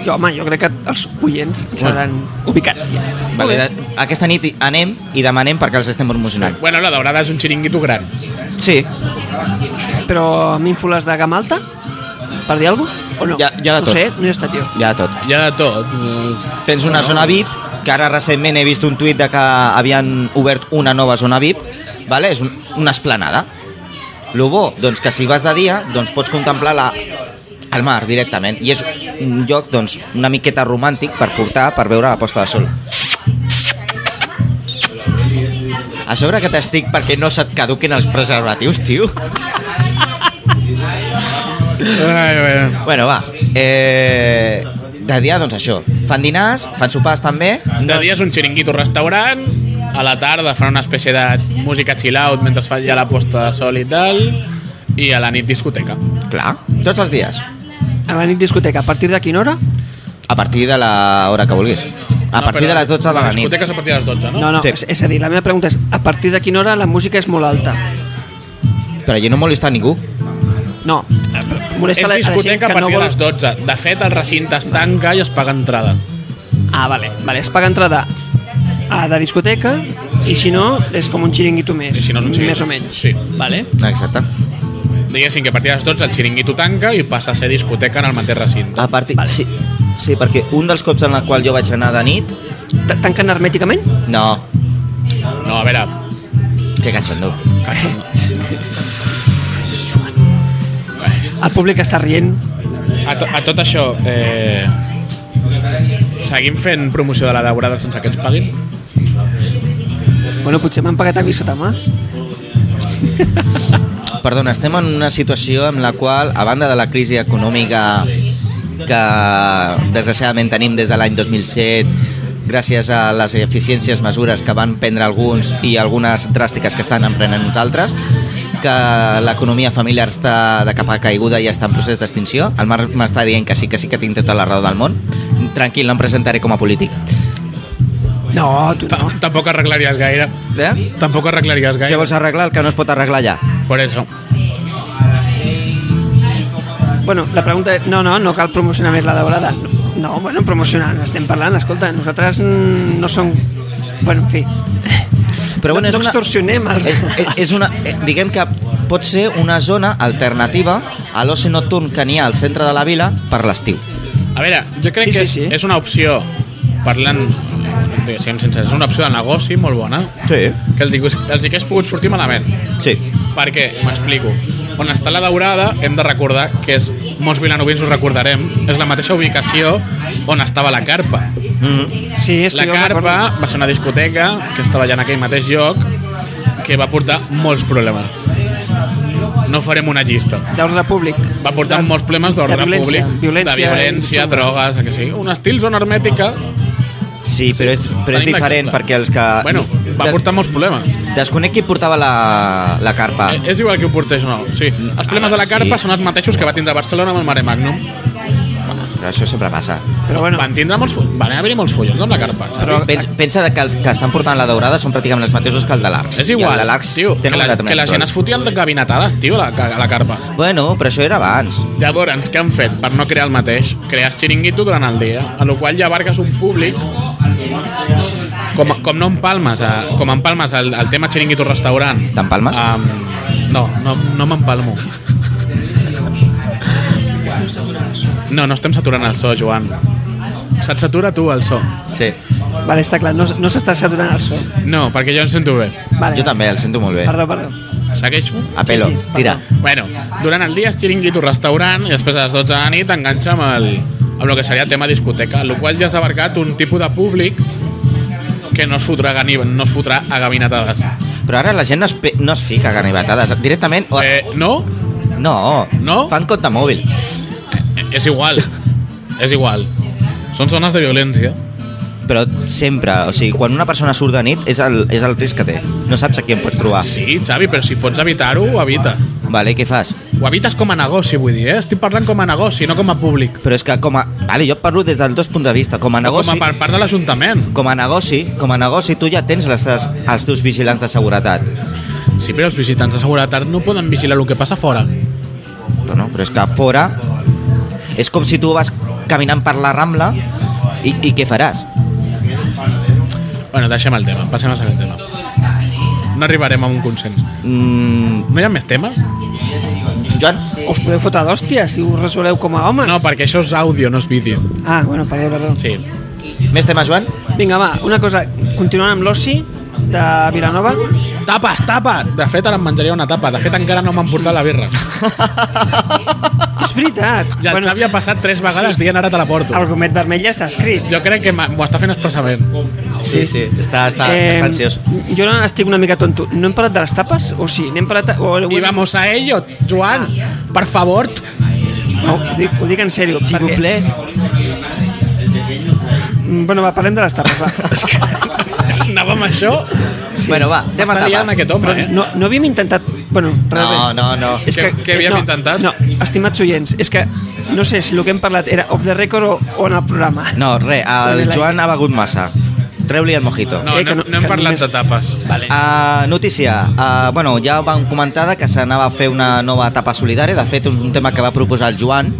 Jo, home, jo crec que els oients ens hauran ubicat. Ja. Vale, de, aquesta nit hi anem i demanem perquè els estem promocionant. Bueno, la daurada és un xiringuito gran. Sí, Però m'infoles de gamma alta? Per dir alguna cosa? O no? Ja- ja de no tot. sé, no hi he estat jo. ja tot. Hi ha de tot. Eh, Tens una zona VIP, que ara recentment he vist un tuit de que havien obert una nova zona VIP, vale? és un, una esplanada. Lo bo, doncs que si vas de dia, doncs pots contemplar la, el mar directament. I és un lloc doncs, una miqueta romàntic per portar per veure la posta de sol. A sobre que t'estic perquè no se't caduquin els preservatius, tio. Ai, bueno. Bueno, va. Eh, de dia, doncs això. Fan dinars, fan sopars també. De dia és un xiringuito restaurant, a la tarda fan una espècie de música chill out mentre es fa ja la posta de sol i tal, i a la nit discoteca. Clar, tots els dies. A la nit discoteca, a partir de quina hora? A partir de la hora que vulguis. A partir de les 12 de la Les nit. discoteques a partir de les 12, no? No, no, Sí. és, és a dir, la meva pregunta és, a partir de quina hora la música és molt alta? Però allí no molesta a ningú. No, Eh, És molesta la, a la gent discoteca que a no partir de vol... les 12. De fet, el recinte es tanca i es paga entrada. Ah, vale, vale, es paga entrada a la discoteca i si no és com un xiringuito més, I si no és un més xiringuito. o menys. Sí. Vale. Exacte. Diguéssim que a partir de les 12 el xiringuito tanca i passa a ser discoteca en el mateix recinte. A partir... Vale. Sí, sí, perquè un dels cops en el qual jo vaig anar de nit... Ta- Tanquen hermèticament? No, No, a veure, que cachondo. El públic està rient. a, to, a tot això, eh, seguim fent promoció de la daurada sense que ens paguin? Bueno, potser m'han pagat a mi sota mà. Perdona, estem en una situació en la qual, a banda de la crisi econòmica que desgraciadament tenim des de l'any 2007, gràcies a les eficiències mesures que van prendre alguns i algunes dràstiques que estan emprenent uns altres, que l'economia familiar està de capa caiguda i està en procés d'extinció. El Marc m'està dient que sí, que sí que tinc tota la raó del món. Tranquil, no em presentaré com a polític. No, tu Ta- no. Tampoc arreglaries gaire. Eh? Tampoc arreglaries Què gaire. vols arreglar? El que no es pot arreglar ja. Por eso. Bueno, la pregunta és... No, no, no cal promocionar més la daurada. No, bueno, promocionar, estem parlant, escolta, nosaltres mm, no som... Bueno, en fi. Però bueno, no, és no una- extorsionem els... és, és- és una, eh, diguem que pot ser una zona alternativa a l'oci nocturn que n'hi ha al centre de la vila per l'estiu. A veure, jo crec Sí, que sí, és, sí. és una opció, parlant, diguéssim, sense, és una opció de negoci molt bona, Sí, que els, hi- els hi hagués pogut sortir malament. sí. Perquè, m'explico, on està la Daurada hem de recordar que és, molts vilanovins ho recordarem, és la mateixa ubicació on estava la Carpa. Sí, és que La jo recordo- Carpa va ser una discoteca que estava allà en aquell mateix lloc que va portar molts problemes. No farem una llista. d'ordre públic. Va portar De- molts problemes d'ordre de violència, públic, violència, de violència, i- drogues, eh, que sí. Un estil zona hermètica Sí, però és, però és Tenim diferent l'exemple. perquè els que... Bueno, va de- portar molts problemes. Desconec qui portava la, la carpa. Eh, És igual que ho portés o no. Sí. Els problemes de la Ah. sí. carpa són els mateixos que va tindre Barcelona amb el Mare Magnum. eh. Però això sempre passa. Però bueno, Van tindre molts... fo- Van haver-hi molts follons amb la carpa. saps? Però- Pens, pensa de que els que estan portant la daurada són pràcticament els mateixos que el de l'Arcs. és I el igual, de l'Arcs tio, que tenen un la, tractament que la gent es diferent. fotia de gavinatades, tio, a la, a la carpa. Bueno, però això era abans. Llavors, què han fet per no crear el mateix? Crear xiringuito durant el dia, a la qual ja abarques un públic com, com no empalmes, a, com empalmes el, el tema xiringuito restaurant. T'empalmes? Um, no, no, no m'empalmo. No, no estem saturant el so, Joan. Se't satura tu el so. Sí. vale, està clar, no, no s'està saturant el so. No, perquè jo em sento bé. Vale. Jo també, el sento molt bé. Perdó, perdó. Segueixo? A pelo, Sí, sí, perdó. tira. Bueno, durant el dia és xiringuito restaurant i després a les 12 de la nit enganxa amb el, amb el que seria el tema discoteca, el qual ja s'ha abarcat un tipus de públic que no es fotrà, gani- no es fotrà a gavinatades. Però ara la gent no es, pe- no es fica ganivetades. Directament... o- Eh, no? No, No? fan compte mòbil. Eh, És igual. És igual. Són zones de violència. Però sempre, o sigui, quan una persona surt de nit és el, és el risc que té. No saps a qui em pots trobar. Sí, Xavi, però si pots evitar-ho, ho evites. Vale, què fas? Ho evites com a negoci, vull dir, eh? Estic parlant com a negoci, no com a públic. Però és que com a... Vale, jo parlo des dels dos punts de vista. Com a Negoci. negoci, Com a per part de l'Ajuntament. com a negoci, com a negoci tu ja tens les teves, els teus vigilants de seguretat. Sí, però els visitants de seguretat no poden vigilar el que passa fora. Però no, però és que fora... És com si tu vas caminant per la Rambla i, i què faràs? Bueno, deixem el tema, passem al següent tema. No arribarem a un consens. Mm, No hi ha més temes? Joan? Us podeu fotre d'hòsties si us resoleu com a homes. No, perquè això és àudio, no és vídeo. Ah, bueno, perdó, perdó. Sí. Més temes, Joan? Vinga, va, una cosa, continuant amb l'oci de Vilanova. Tapes, tapes! De fet, ara em menjaria una tapa. De fet, encara no m'han portat la birra. És veritat. Ja el Xavi ha passat tres vegades dient ara te la porto. el gomet vermell ja està escrit. Jo crec que m'ha- m'ho està fent expressament. Sí, sí, està, està, Eh, està ansiós. jo ara estic una mica tonto. No hem parlat de les tapes? O sí, n'hem parlat... O, I vamos a ello, Joan. Per favor. No, ho dic, ho dic en sèrio. Si perquè- ple, Mm, Bueno, va, parlem de les tapes, va. Anàvem amb això. Bueno, va, tema Està liant tapes. aquest home, eh? No, no havíem intentat Bueno, realment... No, no, no. Què- què havíem no, intentat? No, estimats oients, és que no sé si el que hem parlat era off the record o, o en el programa. No, res, el Joan ha begut massa. Treu-li el mojito. No, Eh, que no, no- no hem que parlat només- de tapes. Vale. Uh, notícia, uh, bueno, ja vam comentar de que s'anava a fer una nova etapa solidària, de fet un, un tema que va proposar el Joan,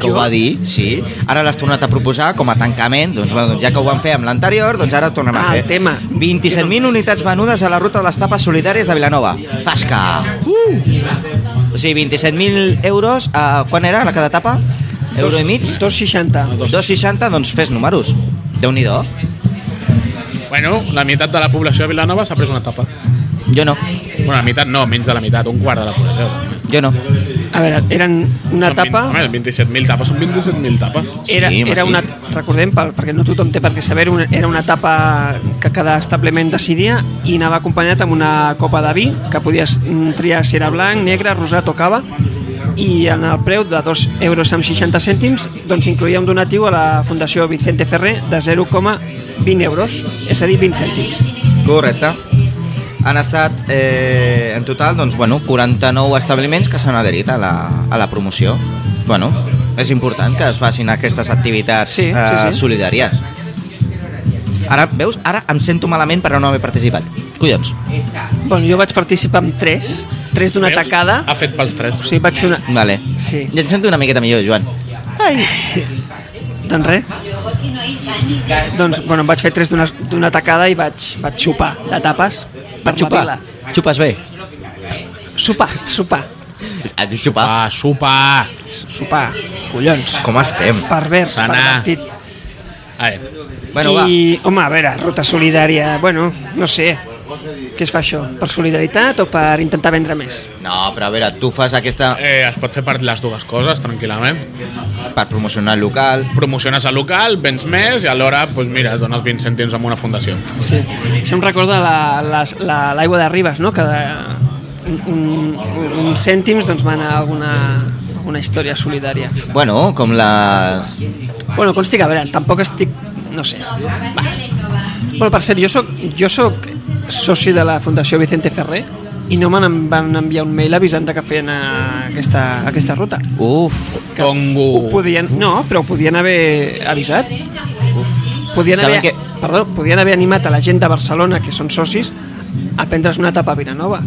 que ho va dir, sí. Ara l'has tornat a proposar com a tancament, doncs, bueno, doncs ja que ho van fer amb l'anterior, doncs ara ho tornem a Ah, fer. el tema. 27.000 unitats venudes a la ruta de les tapes solidàries de Vilanova. Zasca! Uh! O sigui, 27.000 euros, uh, quan era la cada etapa? Euro i mig? 2,60. 2,60, doncs fes números. Déu-n'hi-do. Bueno, la meitat de la població de Vilanova s'ha pres una tapa. Jo no, Bueno, la meitat no, menys de la meitat, un quart de la població. jo no. A veure, eren una Són vint- etapa... Home, 27.000 tapes són 27.000 tapes. Sí, Era, home, era sí. una, recordem, per, perquè no tothom té per què saber, una, era una etapa que cada establiment decidia i anava acompanyat amb una copa de vi que podies mm, triar si era blanc, negre, rosat o cava i en el preu de 2 euros amb 60 cèntims doncs incloïa un donatiu a la Fundació Vicente Ferrer de 0,20 euros, és a dir, 20 cèntims. Correcte. Han estat, eh, en total, doncs, bueno, 49 establiments que s'han adherit a la, a la promoció. Bueno, és important que es facin aquestes activitats Sí, sí, eh, sí. solidàries. Ara, veus, ara em sento malament per no haver participat. Collons. Bueno, jo vaig participar amb 3, 3 d'una Veus? Ah, tacada, Ha fet pels tres. o sigui, vaig fer una... Vale. Sí. Ja em sento una miqueta millor, Joan. Ai. Doncs res. Doncs, bueno, em vaig fer tres d'una- d'una tacada i vaig, vaig xupar de tapes. per la Xupar. vila. Xupes bé. Sopar, sopar, Et dic xupar. Ah, sopar. sopar. Collons. Com estem? Pervers, Sanar. pervertit. A veure, Bueno, va. I, home, a veure, ruta solidària, bueno, no sé. Què es fa això? Per solidaritat o per intentar vendre més? No, però a veure, tu fas aquesta eh, es pot fer per les dues coses, tranquil·lament. per promocionar el local, Promociones el local, vens més i alhora, doncs mira, dones 20 cèntims a una fundació. Sí. Això em recorda la- les- la- l'aigua la, de Ribes, no? Que de, un, un, uns cèntims doncs, van a alguna, alguna història solidària. bueno, com les... Bueno, consti que, a veure, tampoc estic... No sé. Va. Bueno, per cert, jo soc, jo soc soci de la Fundació Vicente Ferrer i no me'n van enviar un mail avisant de que feien eh, aquesta, aquesta ruta. Uf, Ho Congo. podien, no, però ho podien haver avisat. Podien Saben haver, que- perdó, podien haver animat a la gent de Barcelona, que són socis, a prendre's una etapa a Vilanova.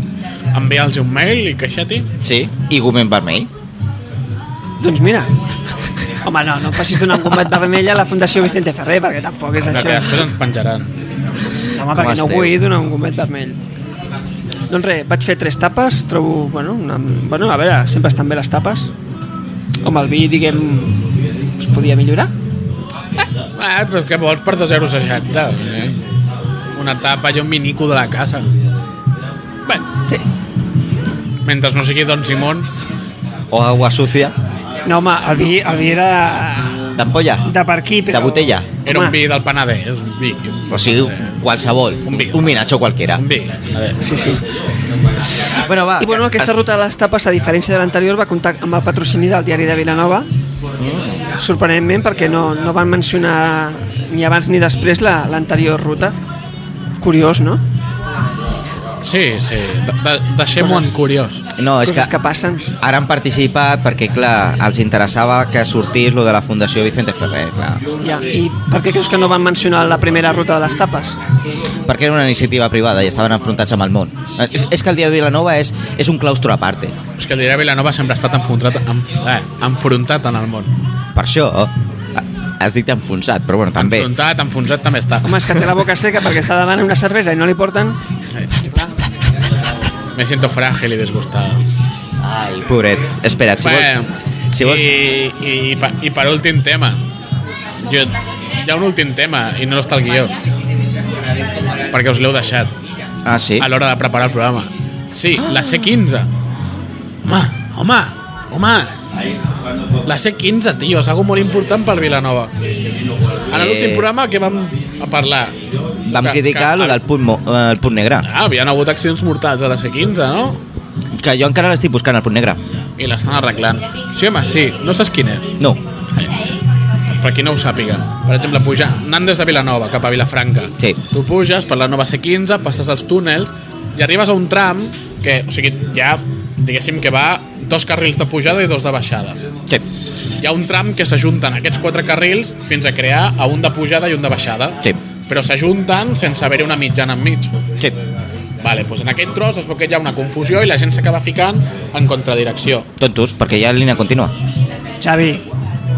Envia'ls un mail i queixar-t'hi. sí, i gomen vermell. Doncs mira, home, no, no em facis donar un combat vermell a la Fundació Vicente Ferrer, perquè tampoc és No, això. que després ens penjaran. Home, perquè no esteu? vull donar un gomet vermell. Doncs res, vaig fer tres tapes, trobo... Bueno, una, bueno a veure, sempre estan bé les tapes. Amb el vi, diguem, es podia millorar. Ah, però què vols per 2,60 eh? Una tapa i un minico de la casa. Bé, Sí. mentre no sigui Don Simón, O agua sucia. No, home, el vi, el vi era D'ampolla. de per aquí, però... De botella. era un Home. vi del Penedès, un vi. O sigui, qualsevol. Un vi. Un vinatxo qualquera. Un vi del Penedès. Sí, sí. Bueno, va. I bueno, aquesta ruta de les tapes, a diferència de l'anterior, va comptar amb el patrocini del diari de Vilanova, Mm. sorprenentment perquè no, no van mencionar ni abans ni després la- l'anterior ruta. Curiós, no? Sí, sí, de, de, deixem-ho en curiós. No, és que Coses que passen. ara han participat perquè, clar, els interessava que sortís lo de la Fundació Vicente Ferrer, clar. Ja, i per què creus que no van mencionar la primera ruta de les tapes? Perquè era una iniciativa privada i estaven enfrontats amb el món. És, és que el dia de Vilanova és, és un claustro a part. És que el diari Vilanova sempre ha estat enfrontat, enf, eh, enfrontat en el món. Per això, eh, has dit enfonsat, però bueno, també. Enfrontat, enfonsat també està. Home, és que té la boca seca perquè està demanant una cervesa i no li porten... Me siento frágil y desgustado. Ai, pobret. Espera't, si vols... Bé, Si vols... i, i, pa- i per últim tema. Jo, hi ha un últim tema i no està al guió. Perquè us l'heu deixat Ah, sí? a l'hora de preparar el programa. Sí, la C15. Home, home, home. La C15, tio, és algo molt important per Vilanova. En l'últim Eh. programa que vam a parlar? Vam Que- criticar que- lo del punt, mo- eh, el punt negre. Ah, havien hagut accidents mortals a la C15, no? Que jo encara l'estic buscant, el punt negre. I l'estan arreglant. Sí, home, sí. No saps quin és. No. per qui no ho sàpiga, per exemple, pujar, anant des de Vilanova cap a Vilafranca, Sí. tu puges per la nova C15, passes els túnels i arribes a un tram que, o sigui, ja diguéssim que va dos carrils de pujada i dos de baixada. Sí. Hi ha un tram que s'ajunten aquests quatre carrils fins a crear a un de pujada i un de baixada. Sí. Però s'ajunten sense haver una mitjana enmig. Sí. Vale, doncs en aquest tros es veu que hi ha una confusió i la gent s'acaba ficant en contradirecció. Tontos, perquè hi ha línia contínua. Xavi,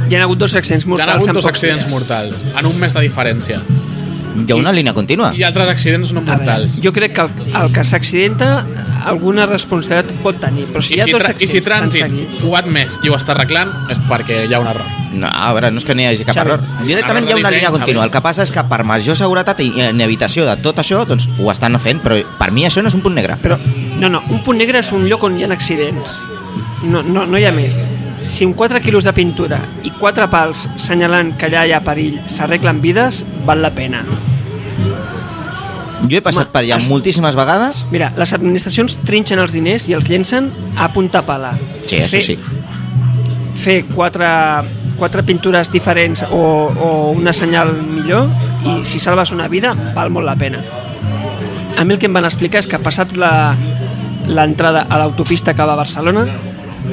hi ha hagut dos accidents Hi ha mortals. hagut en dos pocs accidents dies. mortals, en un mes de diferència. Hi ha una línia contínua. I altres accidents no A veure, mortals. jo crec que el, el que s'accidenta alguna responsabilitat pot tenir, però si I hi ha si, dos tra- I si accidents tan trànsit seguits... ho ha admès i ho està arreglant és perquè hi ha un error. No, a veure, no és que n'hi hagi cap Xavi. error. Directament hi ha una Xavi. línia contínua. El que passa és que per major seguretat i eh, en evitació de tot això, doncs ho estan fent, però per mi això no és un punt negre. Però, no, no, un punt negre és un lloc on hi ha accidents. No, no, no hi ha més. Si amb 4 quilos de pintura i 4 pals senyalant que allà hi ha perill s'arreglen vides, val la pena. Jo he passat Home, per allà es- moltíssimes vegades. Mira, les administracions trinxen els diners i els llencen a punta pala. Sí, això fer, sí. Fer quatre, quatre pintures diferents o, o una senyal millor i si salves una vida val molt la pena. A mi el que em van explicar és que passat la- l'entrada a l'autopista que va a Barcelona,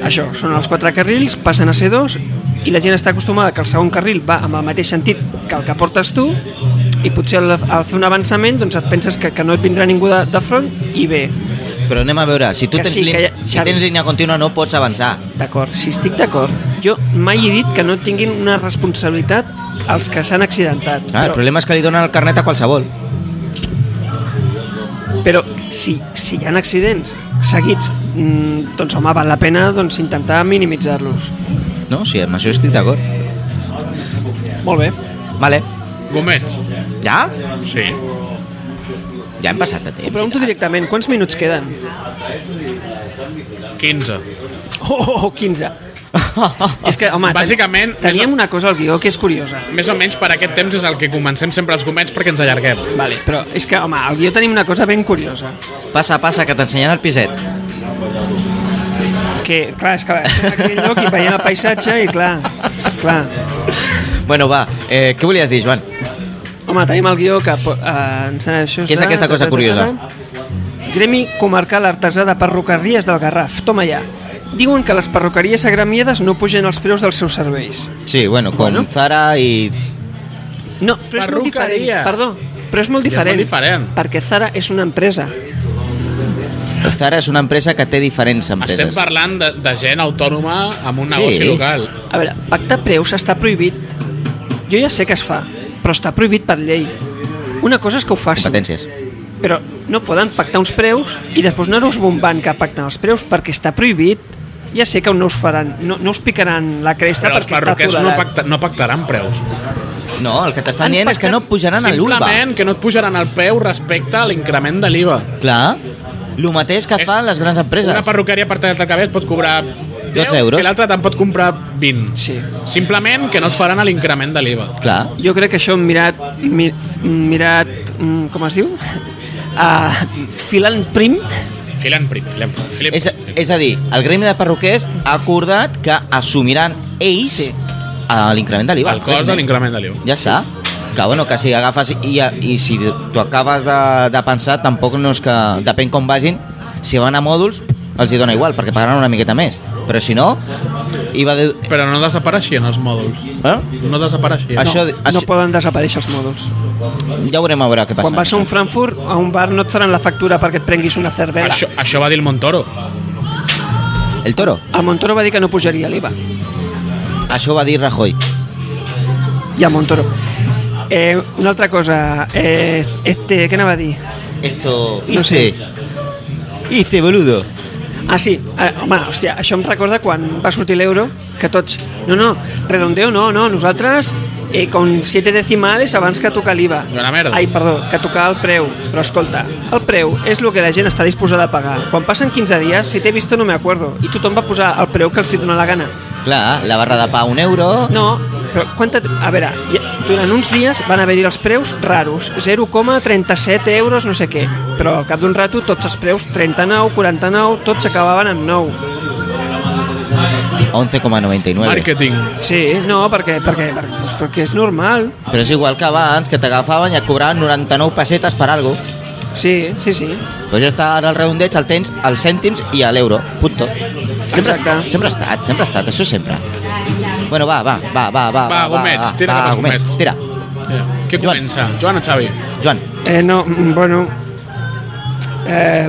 això, són els quatre carrils, passen a ser dos i la gent està acostumada que el segon carril va amb el mateix sentit que el que portes tu i potser al, al fer un avançament doncs et penses que, que no et vindrà ningú de, de front i bé, Però anem a veure, si tu Que tens, sí, lí- que ja- si Xavi. tens línia contínua no pots avançar. D'acord, si estic d'acord. Jo mai he dit que no tinguin una responsabilitat els que s'han accidentat. Ah, el problema és que li donen el carnet a qualsevol. però si, si hi ha accidents seguits, mm, doncs home, val la pena doncs, intentar minimitzar-los. No, sí, amb això estic d'acord. Molt bé. Vale. Gomets? Ja? Sí. Ja hem passat de temps. Ho pregunto directament, quants minuts queden? 15. Oh, oh, oh 15. és que, home, ten- Bàsicament, teníem és- una cosa al guió que és curiosa. Més o menys per aquest temps és el que comencem sempre els gomets perquè ens allarguem. Vale, però és que, home, al guió tenim una cosa ben curiosa. Passa, passa, que t'ensenyen el piset. Que, clar, és que estem aquí en lloc i veiem el paisatge i, clar, clar, Bueno, va, eh, què volies dir, Joan? Home, tenim el guió que eh, ens han això... Què és aquesta cosa curiosa? Gremi Comarcal Artesà de Perruqueries del Garraf. Toma ja. Diuen que les perruqueries agremiades no pugen els preus dels seus serveis. Sí, bueno, com Bueno. Zara i... No, però és molt diferent. Perruqueria. Perdó, però és Ja molt és molt diferent. diferent. Perquè Zara és una empresa. Zara és una empresa que té diferents empreses. Estem parlant de, de gent autònoma amb un Sí. negoci local. A veure, pactar preus està prohibit. Jo ja sé que es fa, però està prohibit per llei. Una cosa és que ho facin. Competències. però no poden pactar uns preus i després no us bombant que pacten els preus perquè està prohibit ja sé que no us faran, no, no us picaran la cresta Però els perquè està perruquers no, tolerat. pacta, no pactaran preus. No, el que t'estan Han dient és que pactat no pujaran a l'Ulva. Simplement que no et pujaran el preu respecte a l'increment de l'IVA. Clar, el mateix que És- fan les grans empreses. Una perruqueria per tallar-te el cabell et pot cobrar 10, 12 euros. i l'altra te'n pot comprar 20. Sí. Simplement que no et faran l'increment de l'IVA. Clar, Jo crec que això hem mirat, mi, mirat mm, com es diu? Uh, filant prim Filen prim, filen prim. Filen és, és a dir, el gremi de perruquers ha acordat que assumiran ells Sí. a l'increment de l'IVA. el cost de l'increment de l'IVA. Ja està. Que, bueno, que si agafes i, i si tu acabes de, de pensar, tampoc no és que... Depèn com vagin, si van a mòduls, els hi dona igual, perquè pagaran una miqueta més. Però si no, IVA de... Però no desapareixien els mòduls. Ah? Eh? No desapareixien. Això- no, això- no poden desaparèixer els mòduls Ja veurem a veure què passa. quan vas a un Frankfurt a un bar no et faran la factura perquè et prenguis una cervesa Això, això va dir el Montoro. El toro. el Montoro va dir que no pujaria l'IVA Això ho va dir Rajoy. i a Montoro eh, una altra cosa eh, este, què anava a dir? Esto... No sé. Este, boludo. Ah, sí. Eh, home, hòstia, això em recorda quan va sortir l'euro, que tots... No, no, redondeo, no, no, nosaltres eh, con siete decimales abans que tocar l'IVA. Una merda. Ai, perdó, que tocar el preu. Però escolta, el preu és el que la gent està disposada a pagar. Quan passen 15 dies, si t'he visto no me acuerdo, i tothom va posar el preu que els hi dona la gana. Clar, la barra de pa un euro... No, però quanta... A veure, hi- durant uns dies van haver-hi els preus raros, 0,37 euros no sé què, però al cap d'un rato tots els preus, 39, 49, tots s'acabaven en 9. 11,99. Màrqueting. Sí, no, perquè, perquè, perquè, doncs perquè és normal. Però és igual que abans, que t'agafaven i et cobraven 99 pessetes per algo. Sí, sí, sí. Doncs ja està, ara el redondeig el tens als cèntims i a l'euro, punto. Sempre, Exacte. sempre ha estat, sempre ha estat, això sempre. Bueno, va, va, va, va, va. Va, gomets, tira cap als gomets. Tira, Què Joan. comença? Joan o Xavi? Joan, Eh, no, mm, bueno... Eh,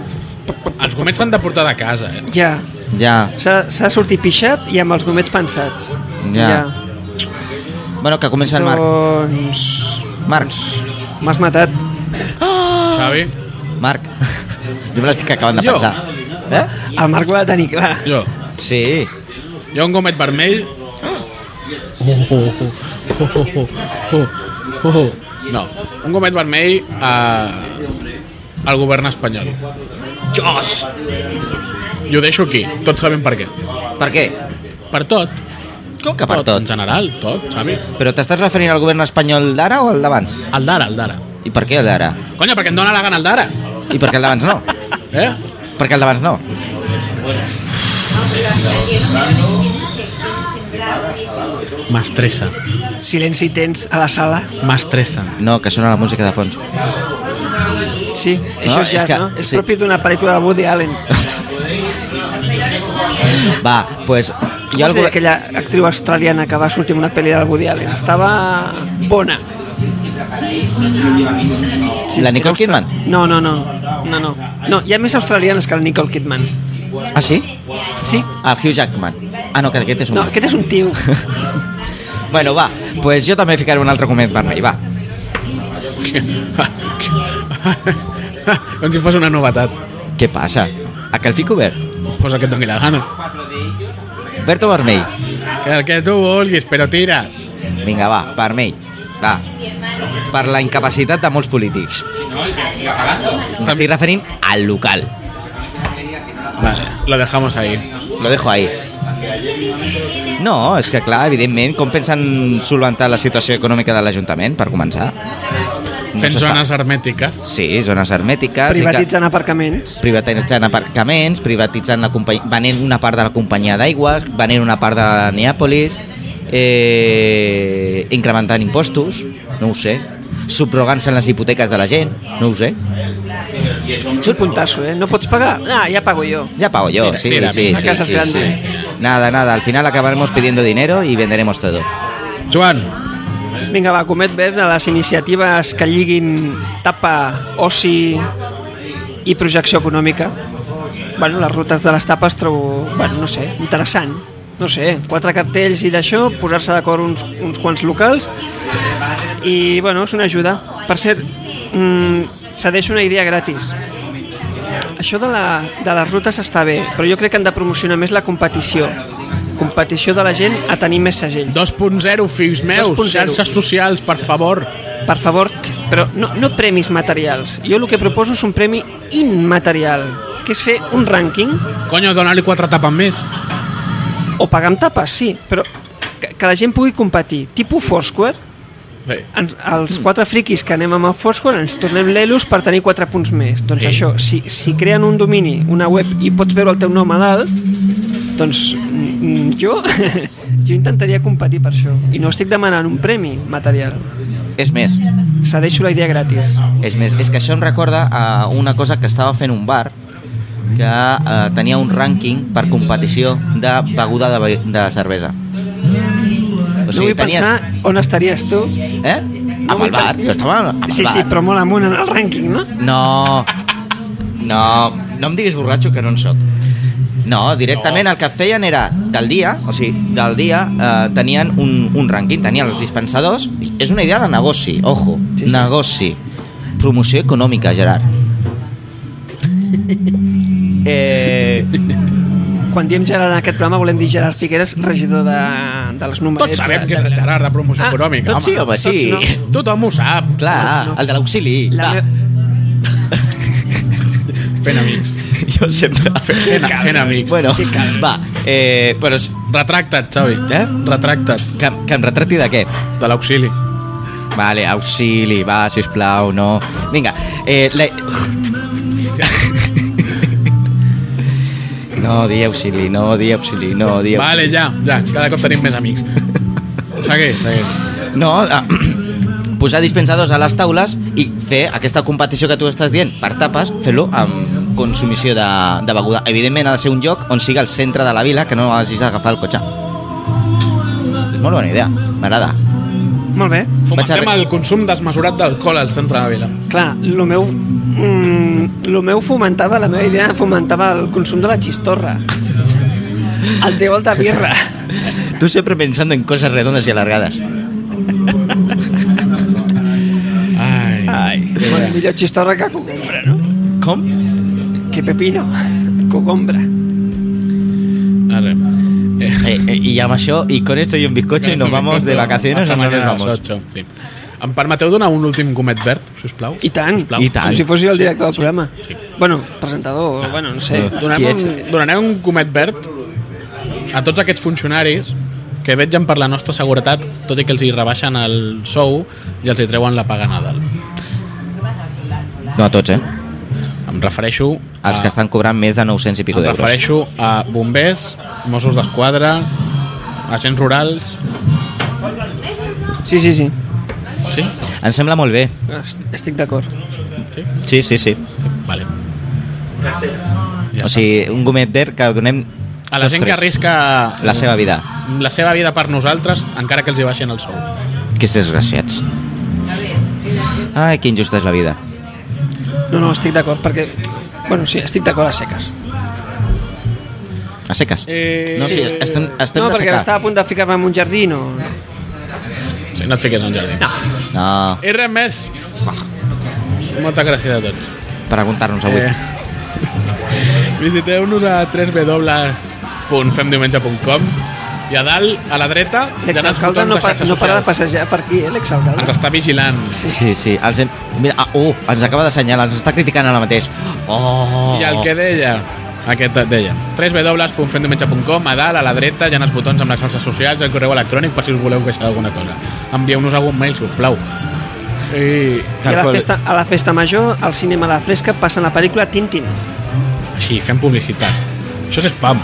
Els gomets s'han de portar de casa, eh? ja, ja. s'ha s'ha sortit pixat i amb els gomets pensats. Ja. Bueno, que comença el Marc. Doncs... Marc, M'has matat. Ah. Xavi? Marc. Jo me l'estic acabant de Jo. pensar. Eh? El Marc ho ha de tenir clar. Jo. Sí. Jo un gomet vermell. No, un gomet vermell a... al govern espanyol. Jos! I ho deixo aquí, tots sabem per què. Per què? Per tot. Com que per En tot? general, tot, Xavi. Però t'estàs referint al govern espanyol d'ara o al d'abans? El d'ara, el d'ara. I per què el d'ara? Conya, perquè em dóna la gana el d'ara. I per què el d'abans no? Eh? Per què el d'abans no? M'estressa, Silenci tens a la sala. m'estressa. No, que sona la música de fons. Sí, això és és jazz, que- no? És sí. propi d'una pel·lícula de Woody Allen. Va, doncs... Pues, Jo el... aquella actriu australiana que va sortir en una pel·li del Woody Allen. Estava bona. Sí, La Nicole era austra- Kidman? No, no, no. No, no. no hi ha més australianes que la Nicole Kidman. Ah, sí? Sí? El Hugh Jackman. Ah, no, que aquest és un... No, aquest és un tio. Bueno, va, doncs pues jo també ficaré un altre coment vermell, va. Com si fos una novetat. Què passa? A que el fico verd? Pues el que et doni la gana. Verd o vermell? Que el que tu vulguis, però tira. Vinga, va, vermell. Va. Per la incapacitat de molts polítics. M'estic referint al local. Vale, lo dejamos ahí. Lo dejo ahí. No, és que clar, evidentment, com pensen solventar la situació econòmica de l'Ajuntament, per començar? No Fent s'està- zones hermètiques. Sí, zones hermètiques. i que- Privatitzant aparcaments. privatitzant aparcaments, privatitzant la companyia, venent una part de la companyia d'aigües, venent una part de Neàpolis, eh, incrementant impostos, no ho sé, subrogant-se en les hipoteques de la gent, no ho sé. És un puntasso, eh? No pots pagar? Ah, ja pago jo. Ja pago yo, Mira, sí, mira, sí, mira, sí, casas sí, grandes. sí. Nada, nada, al final acabaremos pidiendo dinero y venderemos todo. Joan, Vinga, va, comet vers a les iniciatives que lliguin tapa, oci i projecció econòmica. Bueno, les rutes de les tapes trobo, bueno, no sé, interessant. No sé, quatre cartells i d'això, posar-se d'acord uns, uns quants locals i, bueno, és una ajuda. Per cert, mm, cedeixo una idea gratis. Això de, la, de les rutes està bé, però jo crec que han de promocionar més la competició. Competició de la gent a tenir més segells. 2.0, fills meus, 2.0. xarxes socials, per favor. Per favor, t- però no, no premis materials. Jo el que proposo és un premi immaterial, que és fer un rànquing Coño, donar-li quatre tapes més. o pagar amb tapes, sí, però que, que la gent pugui competir. Tipus Foursquare, Bé, en, els quatre friquis que anem amb el Foursquare ens tornem l'Elus per tenir quatre punts més. Doncs Sí. això, si, si creen un domini, una web, i pots veure el teu nom a dalt, doncs mm, mm, jo, jo intentaria competir per això. I no estic demanant un premi material. És més, Cedeixo la idea gratis. és més, és que això em recorda a una cosa que estava fent un bar que eh, tenia un rànquing per competició de beguda de, be- de cervesa. O no vull pensar on estaries tu. Eh? No amb vull el bar, pen- jo estava amb el Sí, bar. sí, però molt amunt en el rànquing, no? No, no, no em diguis borratxo que no en sóc. No, directament el que feien era del dia, o sigui, del dia eh, tenien un, un rànquing, tenien els dispensadors, és una idea de negoci, ojo, Sí, sí, sí. sí. negoci, promoció econòmica, Gerard. Eh, Quan diem Gerard en aquest programa volem dir Gerard Figueres, regidor de, de les numerets. tots sabem de- que és el Gerard de promoció Ah, econòmica, tot sí, home, sí. Tots no. Tothom ho sap. Clar, No. el de l'auxili. La clar. me... Fent amics. Jo sempre... Fent, fent amics. Bueno, va, eh, però... és- Retracta't, Xavi. Eh? Retracta't Que, que em retrati de què? de l'auxili. Vale, auxili, va, sisplau, no. Vinga, eh, la... No, di auxili, no, di auxili, no, di Vale, auxili. ja, ja. Cada cop tenim més amics. Segueix, segueix. No, ah, posar dispensadors a les taules i fer aquesta competició que tu estàs dient per tapes, fer-lo amb consumició de, de beguda. Evidentment ha de ser un lloc on sigui el centre de la vila que no hagis d'agafar el cotxe. És molt bona idea, m'agrada. Molt bé. Fomentem Vaig a- el consum desmesurat d'alcohol al centre de la vila. Clar, el meu, mm, lo meu fomentava, la meva idea fomentava el consum de la xistorra. El teu alta birra. Tu sempre pensant en coses redondes i alargades. Ai. Ai. Bueno, millor xistorra que cogombra, no? Com? Que pepino. Cogombra. Arre. Eh, Eh, eh, y llama yo y con esto y un bizcocho y nos vamos de vacaciones Hasta o no nos mañana a las vamos. 8, sí. Em permeteu donar un últim comet verd, sisplau? I tant. Sisplau. I tant. Com si fos jo el director del programa. Bueno, presentador, o bueno, no sé. Donem Qui un, ets? donarem un comet verd a tots aquests funcionaris que vetllen per la nostra seguretat, tot i que els hi rebaixen el sou i els hi treuen la paga a Nadal. No a tots, eh? Em refereixo a, Els que estan cobrant més de 900 i pico em d'euros. refereixo a bombers, Mossos d'Esquadra, agents rurals... Sí, sí, sí. Sí? Em sembla molt bé. Est- Estic d'acord. Sí? Sí, sí, sí. Vale. O sigui, un gomet d'er que donem... A la gent que Ostres, arrisca La seva vida. la seva vida per nosaltres, encara que els hi baixin el sou. Que desgraciats. Ai, que injusta és la vida. No, no, estic d'acord, perquè... Bueno, sí, estic d'acord a seques. A seques. Eh, No, sí, sí. estem, estem No, de perquè secar. estava a punt de ficar-me en un jardí, no... Sí, no et fiques en jardí. No. No, I res més. Moltes gràcies a tots. per aguantar-nos avui. Eh, Visiteu-nos a www.femdiumenge.com i a dalt, a la dreta, hi ha els L'exalcalde botons no, de pa, xarxes no para de socials. passejar per aquí, eh, Ens l'exalcalde? està vigilant. Sí, sí. Els hem... Mira, ah, uh, ens acaba de senyalar, ens està criticant ara mateix. Oh. I el que deia, aquest deia, www.femdiumenge.com, a dalt, a la dreta, hi ha els botons amb les xarxes socials, el correu electrònic, per si us voleu queixar d'alguna cosa. Envieu-nos algun mail, si us plau. I I a la, Tal qual. festa, a la festa major, al cinema a la fresca, passen la pel·lícula Tintin. així, fem publicitat. Això és spam.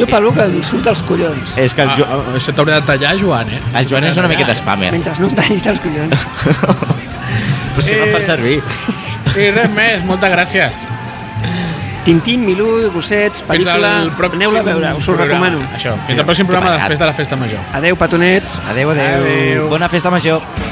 Jo parlo que em surt els collons. És que El el, jo... jo... Això t'hauria ah, de tallar, Joan, eh? el Joan és una miqueta spammer. Mentre no em tallis els collons. Però si no em fa Eh. servir. I res més, moltes gràcies. Tintín, Milú, Gossets, pel·lícula... Aneu-la a veure, us ho programa. recomano. Això, fins al pròxim programa Tapat. després de la festa major. Adeu, petonets. Adéu, adéu. Adéu. Bona festa major.